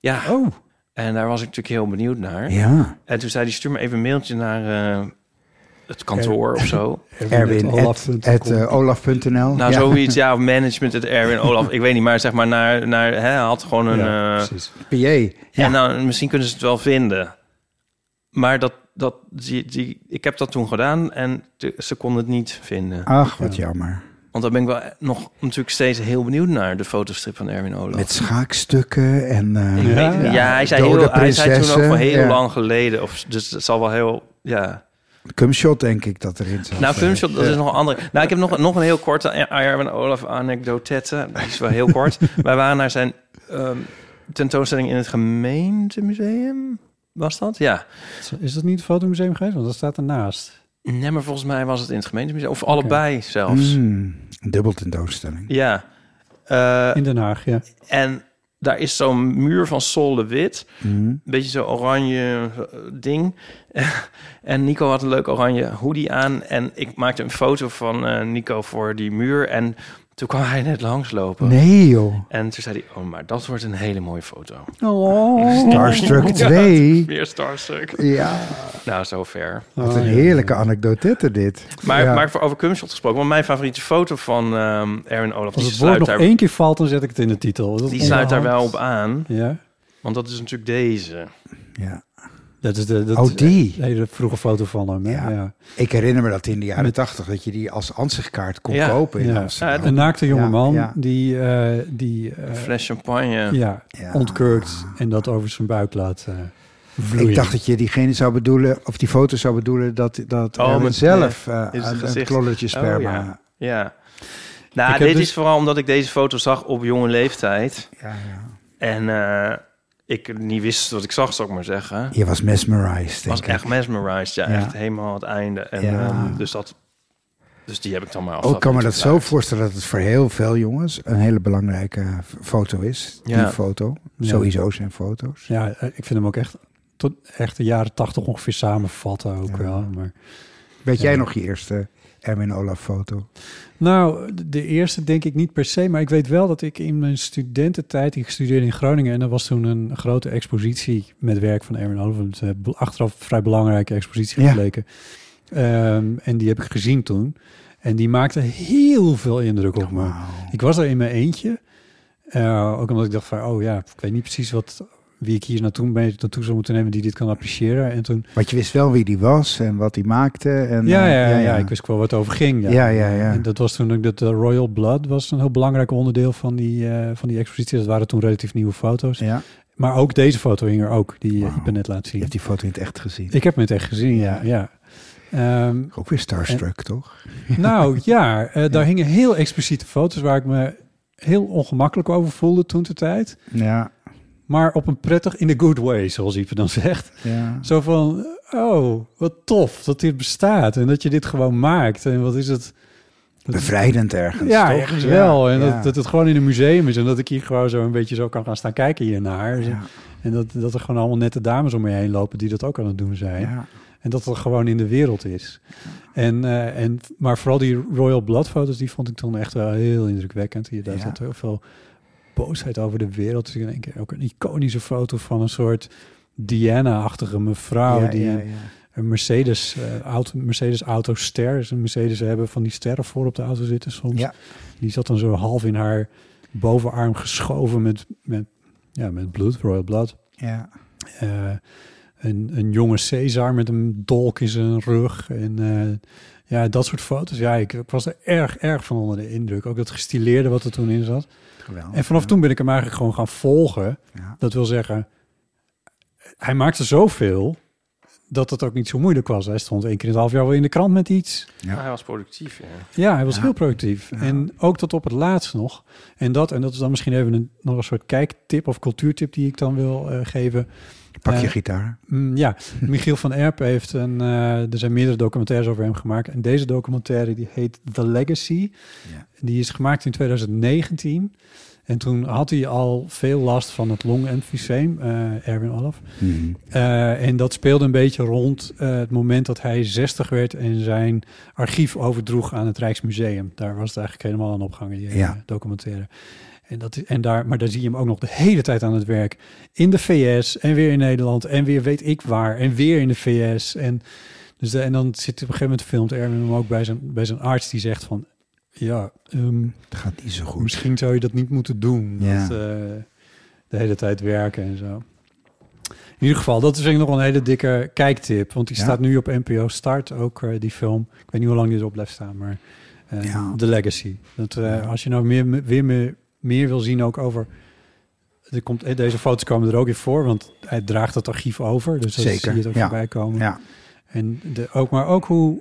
S2: Ja.
S1: Oh.
S2: En daar was ik natuurlijk heel benieuwd naar.
S3: Ja.
S2: En toen zei hij, stuur me even een mailtje naar eh, het kantoor of
S1: (laughs)
S2: zo.
S3: Erwin, at- at, eh, olaf.nl.
S2: Nou,
S3: Ja.
S2: zoiets, ja, of management, het Erwin Olaf, ik weet niet, maar zeg maar naar, naar hè, hij had gewoon een...
S3: Ja,
S2: eh,
S3: PA.
S2: En nou- dan, misschien kunnen ze het wel vinden. Maar dat, dat, die, die, ik heb dat toen gedaan en de- ze konden het niet vinden.
S3: Ach, wat jammer.
S2: Want daar ben ik wel nog natuurlijk steeds heel benieuwd naar, de fotostrip van Erwin Olaf.
S3: Met schaakstukken en... eh,
S2: Ik weet niet. ja, hij zei,
S3: dode
S2: heel, hij zei toen ook
S3: prinsessen.
S2: van heel
S3: Ja.
S2: lang geleden. Of, dus het zal wel heel... Ja.
S3: Cumshot denk ik dat erin zat.
S2: Nou, Cumshot, dat
S3: Ja.
S2: is nog een andere. Nou, ik heb nog, nog een heel korte Erwin Olaf anekdotette. Die is wel heel kort. Wij waren naar zijn ehm, tentoonstelling in het gemeentemuseum. Was dat? Ja.
S1: Is dat niet het fotomuseum geweest? Want dat staat ernaast.
S2: Nee, maar volgens mij was het in het gemeentemuseum. Of allebei zelfs.
S3: Mm, een dubbel tentoonstelling.
S2: Ja. Eh,
S1: In Den Haag, ja.
S2: En daar is zo'n muur van solde wit.
S3: Mhm.
S2: Beetje zo'n oranje eh, ding. (laughs) en Nico had een leuk oranje hoodie aan. En ik maakte een foto van eh, Nico voor die muur. En Toen kwam hij net langslopen.
S3: Nee, joh.
S2: En toen zei hij, oh, maar dat wordt een hele mooie foto.
S3: Oh. Starstruck
S2: (laughs) Ja,
S3: 2.
S2: (laughs) weer Starstruck.
S3: Ja.
S2: Nou, zover.
S3: Wat
S1: Oh,
S3: een heerlijke anekdotette dit.
S2: Maar,
S3: Ja.
S2: maar voor over cumshot gesproken, want mijn favoriete foto van ehm Aaron Olaf, die
S1: Als het woord
S2: sluit,
S1: nog
S2: daar,
S1: één keer valt, dan zet ik het in de titel. Dat
S2: die sluit daar
S1: onderhand.
S2: wel op aan.
S1: Ja.
S2: Want dat is natuurlijk deze.
S3: Ja.
S1: Dat is de, dat
S3: Oh, die.
S1: Een hele vroege foto van hem. hè?
S3: Ja.
S1: Ja.
S3: Ik herinner me dat in de jaren
S1: Met-
S3: 80 dat je die als ansichtkaart kon
S1: Ja.
S3: kopen in
S1: Ja.
S3: Amsterdam.
S1: Een naakte jonge
S3: Ja,
S1: man
S3: ja.
S1: die... eh die eh,
S2: Een fles champagne.
S1: Ja, ontkurkt en dat over zijn buik laat eh, vloeien.
S3: Ik dacht dat je diegene zou bedoelen, of die foto zou bedoelen, dat, dat
S2: Oh,
S3: Aaron
S2: met-
S3: zelf
S2: nee,
S3: eh,
S2: dit is het
S3: een, een
S2: gezicht.
S3: klolletje
S2: Oh,
S3: sperma.
S2: ja. ja. Nou,
S3: Ik heb
S2: dit
S3: dus-
S2: is vooral omdat ik deze foto zag op jonge leeftijd. En eh, ik niet wist wat ik zag, zou ik maar zeggen.
S3: Je was mesmerized, denk
S2: was echt mesmerized, ja,
S3: Ja.
S2: Echt helemaal het einde. En,
S3: Ja.
S2: ehm, dus, dat, dus die heb ik dan maar
S3: Ook
S2: afgelopen
S3: kan me dat
S2: natuurlijk
S3: zo voorstellen dat het voor heel veel jongens een hele belangrijke f- foto is.
S1: Ja.
S3: Die foto.
S1: Ja.
S3: Sowieso zijn foto's.
S1: Ja, eh, ik vind hem ook echt tot echt de jaren tachtig ongeveer samenvatten ook wel. Maar,
S3: Weet jij
S1: Ja.
S3: nog je eerste Erwin Olaf foto?
S1: Nou, de- de eerste denk ik niet per se, maar ik weet wel dat ik in mijn studententijd, ik studeerde in Groningen en er was toen een grote expositie met werk van Erwin Olaf, een eh, achteraf vrij belangrijke expositie
S3: Ja.
S1: gebleken. Ehm, en die heb ik gezien toen. En die maakte heel veel indruk op me. Ik was er in mijn eentje. Eh, ook omdat ik dacht van, oh ja, ik weet niet precies wat, wie ik hier naartoe, mee, naartoe zou moeten nemen die dit kan appreciëren. En toen
S3: Want je wist wel wie die was en wat die maakte. En,
S1: ja,
S3: eh,
S1: ja, ja, ik wist wel wat het over ging.
S3: Ja, ja, ja.
S1: En dat was toen ook dat eh, Royal Blood was een heel belangrijk onderdeel van die, eh, van die expositie. Dat waren toen relatief nieuwe foto's.
S3: Ja.
S1: Maar ook deze foto hing er ook, die eh, ik ben net laten zien. Je hebt
S3: die foto in het echt gezien.
S1: Ik heb hem in het echt gezien, ja. ja. Ehm,
S3: Ook weer Starstruck, toch?
S1: nou ja, eh, daar hingen heel expliciete foto's waar ik me heel ongemakkelijk over voelde toen de tijd.
S3: Ja.
S1: Maar op een prettig, in a good way, zoals Ieper dan zegt.
S3: Ja.
S1: Zo van, oh, wat tof dat dit bestaat en dat je dit gewoon maakt. En wat is het...
S3: Bevrijdend ergens,
S1: Ja,
S3: toch?
S1: ergens
S3: Ja,
S1: wel. En
S3: ja.
S1: dat, dat het gewoon in een museum is en dat ik hier gewoon zo een beetje zo kan gaan staan kijken hiernaar. En dat, dat er gewoon allemaal nette dames om me heen lopen die dat ook aan het doen zijn.
S3: Ja.
S1: En dat dat gewoon in de wereld is. En, eh, en, maar vooral die Royal Blood foto's, die vond ik toen echt wel heel indrukwekkend. Hier, daar
S3: Ja.
S1: zat heel veel boosheid over de wereld. Dus in één keer ook een iconische foto van een soort Diana-achtige mevrouw.
S3: Ja,
S1: die
S3: ja,
S1: een- een Mercedes, eh, auto, Mercedes auto ster. Dus een Mercedes hebben van die sterren voor op de auto zitten soms. Die zat dan zo half in haar bovenarm geschoven met, met, ja, met bloed, royal blood.
S3: Ja.
S1: Eh, een, een jonge Caesar met een dolk in zijn rug. En eh, ja, dat soort foto's. Ja, ik, ik was er erg, erg van onder de indruk. Ook dat gestileerde wat er toen in zat.
S3: Geweldig,
S1: en vanaf toen ben ik hem eigenlijk gewoon gaan volgen. Dat wil zeggen, hij maakte zoveel dat het ook niet zo moeilijk was. Hij stond één keer in het half jaar wel in de krant met iets.
S2: Ah, hij was productief, ja.
S1: Ja, hij was heel productief. En ook tot op het laatst nog. En dat, en dat is dan misschien even een, nog een soort kijktip of cultuurtip die ik dan wil eh, geven.
S3: Pak je
S1: Eh,
S3: gitaar.
S1: mm, ja, Michiel van Erp heeft een... eh, er zijn meerdere documentaires over hem gemaakt. En deze documentaire die heet The Legacy. Die is gemaakt in 2019. En toen had hij al veel last van het longemfyseem, eh Erwin Olaf.
S3: Mhm.
S1: Eh, en dat speelde een beetje rond eh, het moment dat hij 60 werd en zijn archief overdroeg aan het Rijksmuseum. Daar was het eigenlijk helemaal aan opgehangen, die hele
S3: Ja.
S1: documentaire. En dat, is- en daar, maar daar zie je hem ook nog de hele tijd aan het werk. In de VS en weer in Nederland en weer weet ik waar en weer in de VS. En, dus de- en dan zit op een gegeven moment filmt Erwin hem ook bij zijn, bij zijn arts die zegt van... Ja, ehm,
S3: het gaat niet zo goed.
S1: Misschien zou je dat niet moeten doen.
S3: Ja.
S1: Dat, eh, de hele tijd werken en zo. In ieder geval, dat is eigenlijk nog wel een hele dikke kijktip. Want die
S3: Ja.
S1: staat nu op NPO Start, ook eh, die film. Ik weet niet hoe lang die erop blijft staan, maar eh, The Legacy. Dat, eh, Als je nou meer, me- weer meer, meer wil zien ook over... Er komt, eh, deze foto's komen er ook in voor, want hij draagt het archief over. Dus dat
S3: Zeker,
S1: zie je het ook
S3: ja.
S1: voorbij komen. En de, ook, maar ook hoe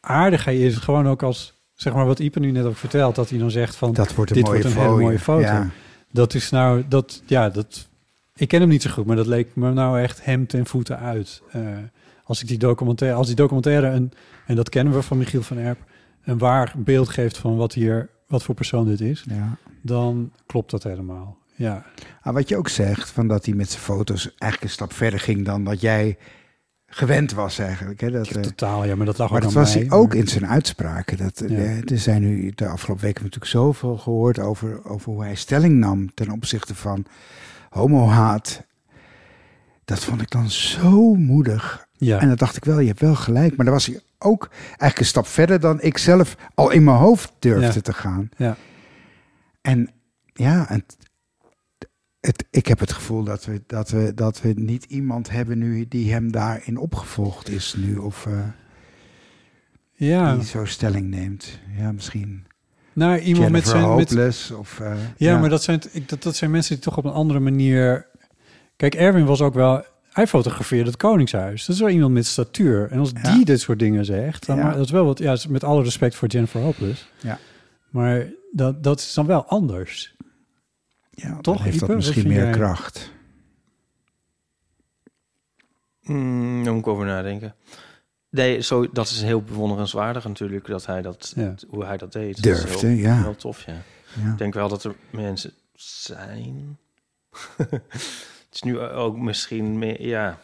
S1: aardig hij is. Gewoon ook als, zeg maar wat Ieper nu net ook vertelt. Dat hij dan zegt van,
S3: Dat wordt een
S1: dit
S3: mooie
S1: wordt een
S3: fooi.
S1: hele mooie foto.
S3: Ja.
S1: Dat is nou, dat, ja, dat, ik ken hem niet zo goed, maar dat leek me nou echt hem ten voeten uit. Eh, als, ik die documentaire, als die documentaire, een, en dat kennen we van Michiel van Erp, een waar beeld geeft van wat hier, wat voor persoon dit is, dan klopt dat helemaal. Ja.
S3: Ah, wat je ook zegt, van dat hij met zijn foto's eigenlijk een stap verder ging dan dat jij gewend was eigenlijk. Hè, dat, eh,
S1: Totaal, ja, maar dat lag
S3: maar
S1: ook
S3: dat
S1: aan
S3: was
S1: Oh, mij.
S3: hij ook
S1: maar-
S3: in zijn uitspraken. Dat, eh,
S1: Ja.
S3: eh, er zijn nu de afgelopen weken natuurlijk zoveel gehoord over, over hoe hij stelling nam ten opzichte van homohaat. Dat vond ik dan zo moedig.
S1: Ja.
S3: En dan dacht ik wel, je hebt wel gelijk. Maar dan was hij ook eigenlijk een stap verder dan ik zelf al in mijn hoofd durfde
S1: Ja.
S3: te gaan.
S1: Ja.
S3: En ja, en t- het, ik heb het gevoel dat we, dat, we, dat we niet iemand hebben nu die hem daarin opgevolgd is nu. Of, eh,
S1: Ja.
S3: die zo stelling neemt. Ja, misschien.
S1: Nou, iemand
S3: Jennifer
S1: met zijn... Met,
S3: Hopeless of, eh,
S1: ja,
S3: ja.
S1: maar dat zijn, ik, dat, dat zijn mensen die toch op een andere manier... Kijk, Erwin was ook wel... Hij fotografeerde het Koningshuis. Dat is wel iemand met statuur. En als die dit soort dingen zegt... Dan
S3: Ja.
S1: maar, dat is wel wat... Ja, met alle respect voor Jennifer Hopeless.
S3: Ja.
S1: Maar dat, dat is dan wel anders.
S3: Ja,
S1: toch?
S3: dan heeft
S1: Ipe?
S3: dat
S1: Wat
S3: misschien
S1: vind
S3: meer
S1: jij?
S3: kracht.
S2: Mm, daar moet ik over nadenken. Nee, zo, dat is heel bewonderenswaardig natuurlijk, dat hij dat,
S3: Ja.
S2: hoe hij dat deed. dat is
S3: Durfde,
S2: heel,
S3: ja.
S2: Heel tof, ja.
S3: Ja.
S2: Ik denk wel dat er mensen zijn. (laughs) het is nu ook misschien meer, ja.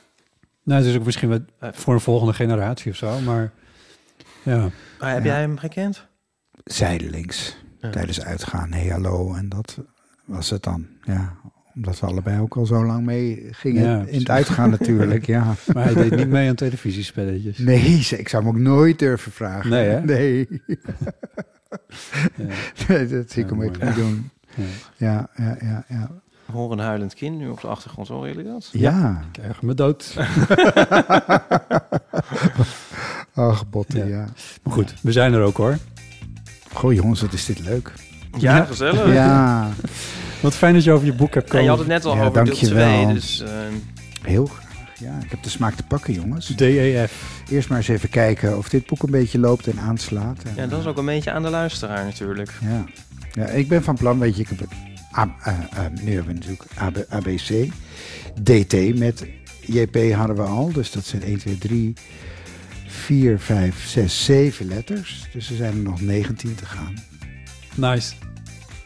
S1: Nou, het is ook misschien wat voor een volgende generatie of zo. Maar ja.
S2: Maar heb jij hem gekend?
S3: Zijdelings. Tijdens uitgaan, hey hallo. En dat was het dan. Ja, omdat we allebei ook al zo lang mee gingen.
S1: Ja,
S3: in
S1: precies.
S3: het uitgaan natuurlijk, ja.
S1: (laughs) Maar hij deed niet mee aan televisiespelletjes.
S3: Nee, ze- ik zou hem ook nooit durven vragen.
S1: Nee, hè?
S3: Nee. (laughs) Nee, dat zie ik
S2: Ja,
S3: hem
S2: mooi.
S3: echt niet doen.
S2: Ja.
S3: Ja, ja, ja, ja.
S2: Horen een huilend kind nu op de achtergrond, horen jullie dat?
S3: Ja.
S1: Ik erger me dood.
S3: Ach, botten, ja.
S1: Maar goed, we zijn er ook hoor.
S3: Goh jongens, wat is dit leuk.
S2: Ja, gezellig.
S3: Ja.
S1: Wat fijn dat je over je boek hebt
S2: Ja,
S1: komen.
S2: je had het net al
S3: Ja,
S2: over deel
S3: dankjewel.
S2: 2, dus... ehm,
S3: Heel graag, ja. Ik heb de smaak te pakken, jongens.
S1: E DEF.
S3: Eerst maar eens even kijken of dit boek een beetje loopt en aanslaat. En,
S2: ja, dat is ook een beetje aan de luisteraar natuurlijk.
S3: ja. ja, ik ben van plan, weet je, ik heb het A- eh, eh, nu hebben we natuurlijk AB, ABC, DT met JP hadden we al. Dus dat zijn 1, 2, 3, 4, 5, 6, 7 letters. Dus er zijn er nog 19 te
S2: (laughs)
S3: gaan. (laughs)
S1: Nice.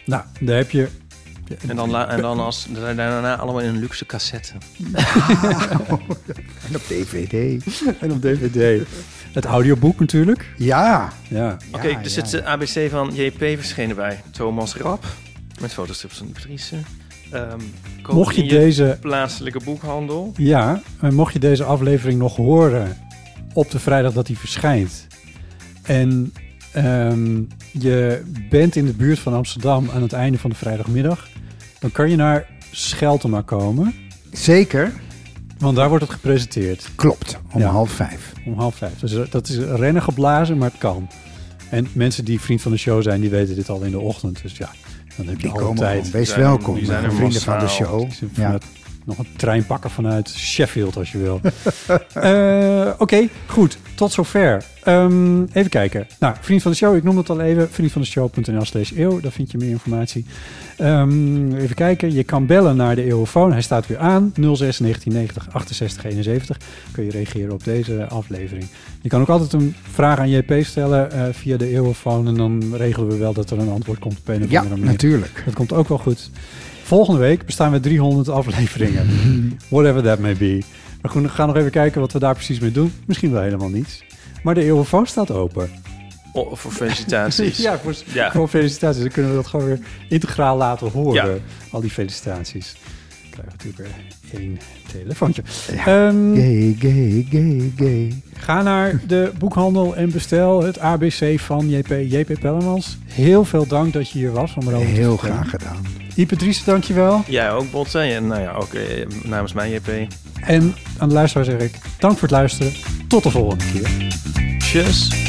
S1: Nou, daar heb je.
S2: En dan, la- en dan als, daarna allemaal in een luxe cassette.
S3: En op DVD.
S1: en op DVD. Het audioboek natuurlijk.
S3: Ja.
S1: Ja.
S2: Oké, dus eh, er zit de ABC van JP verschenen bij Thomas Rap. Met fotostrips van de Patrice. Ehm, koop
S1: Mocht je
S2: in
S1: deze-
S2: plaatselijke boekhandel.
S1: Ja, en mocht je deze aflevering nog horen op de vrijdag dat die verschijnt. En ehm, je bent in de buurt van Amsterdam aan het einde van de vrijdagmiddag. Dan kan je naar Scheltema komen.
S3: Zeker.
S1: Want daar wordt het gepresenteerd.
S3: Klopt, om half vijf.
S1: Om half vijf. Dus dat is rennen geblazen, maar het kan. En mensen die vriend van de show zijn, die weten dit al in de ochtend. Dus ja, dan heb je
S3: Die
S1: al
S3: komen
S1: tijd.
S3: gewoon. Wees Die zijn- welkom, die zijn er vrienden massaal. van de show.
S1: Die zijn
S3: Ja.
S1: vanuit- Nog een trein pakken vanuit Sheffield als je
S3: (laughs)
S1: wil. Eh, Oké, goed. Tot zover. Ehm, even kijken. Nou, vriend van de show, ik noem het al even. Vriendvandeshow.nl slash eeuw. Daar vind je meer informatie. Ehm, even kijken. Je kan bellen naar de eeuwofoon. Hij staat weer aan. 06 1990 68 71. Kun je reageren op deze aflevering. Je kan ook altijd een vraag aan JP stellen eh, via de eeuwofoon. En dan regelen we wel dat er een antwoord komt op een of
S3: Ja,
S1: andere manier.
S3: natuurlijk.
S1: Dat komt ook wel goed. Volgende week bestaan we 300 afleveringen. Whatever that may be. We gaan- gaan nog even kijken wat we daar precies mee doen. Misschien wel helemaal niets. Maar de eeuwofoon staat open.
S2: Oh, voor felicitaties.
S1: (laughs) ja, voor, voor felicitaties. Dan kunnen we dat gewoon weer integraal laten horen. Al die felicitaties. Dan krijgen we natuurlijk weer één telefoontje. Ehm,
S3: Gay, gay, gay, gay.
S1: Ga naar de boekhandel en bestel het ABC van JP, JP Pellemans. Heel veel dank dat je hier was. Om erover te
S3: Heel
S1: vertellen.
S3: graag gedaan.
S1: Ipatrice, dankjewel.
S2: Jij ook, Botte. En nou ja, ook eh, namens mij, JP.
S1: En aan de luisteraar zeg ik, dank voor het luisteren. Tot de volgende keer.
S2: Tjus.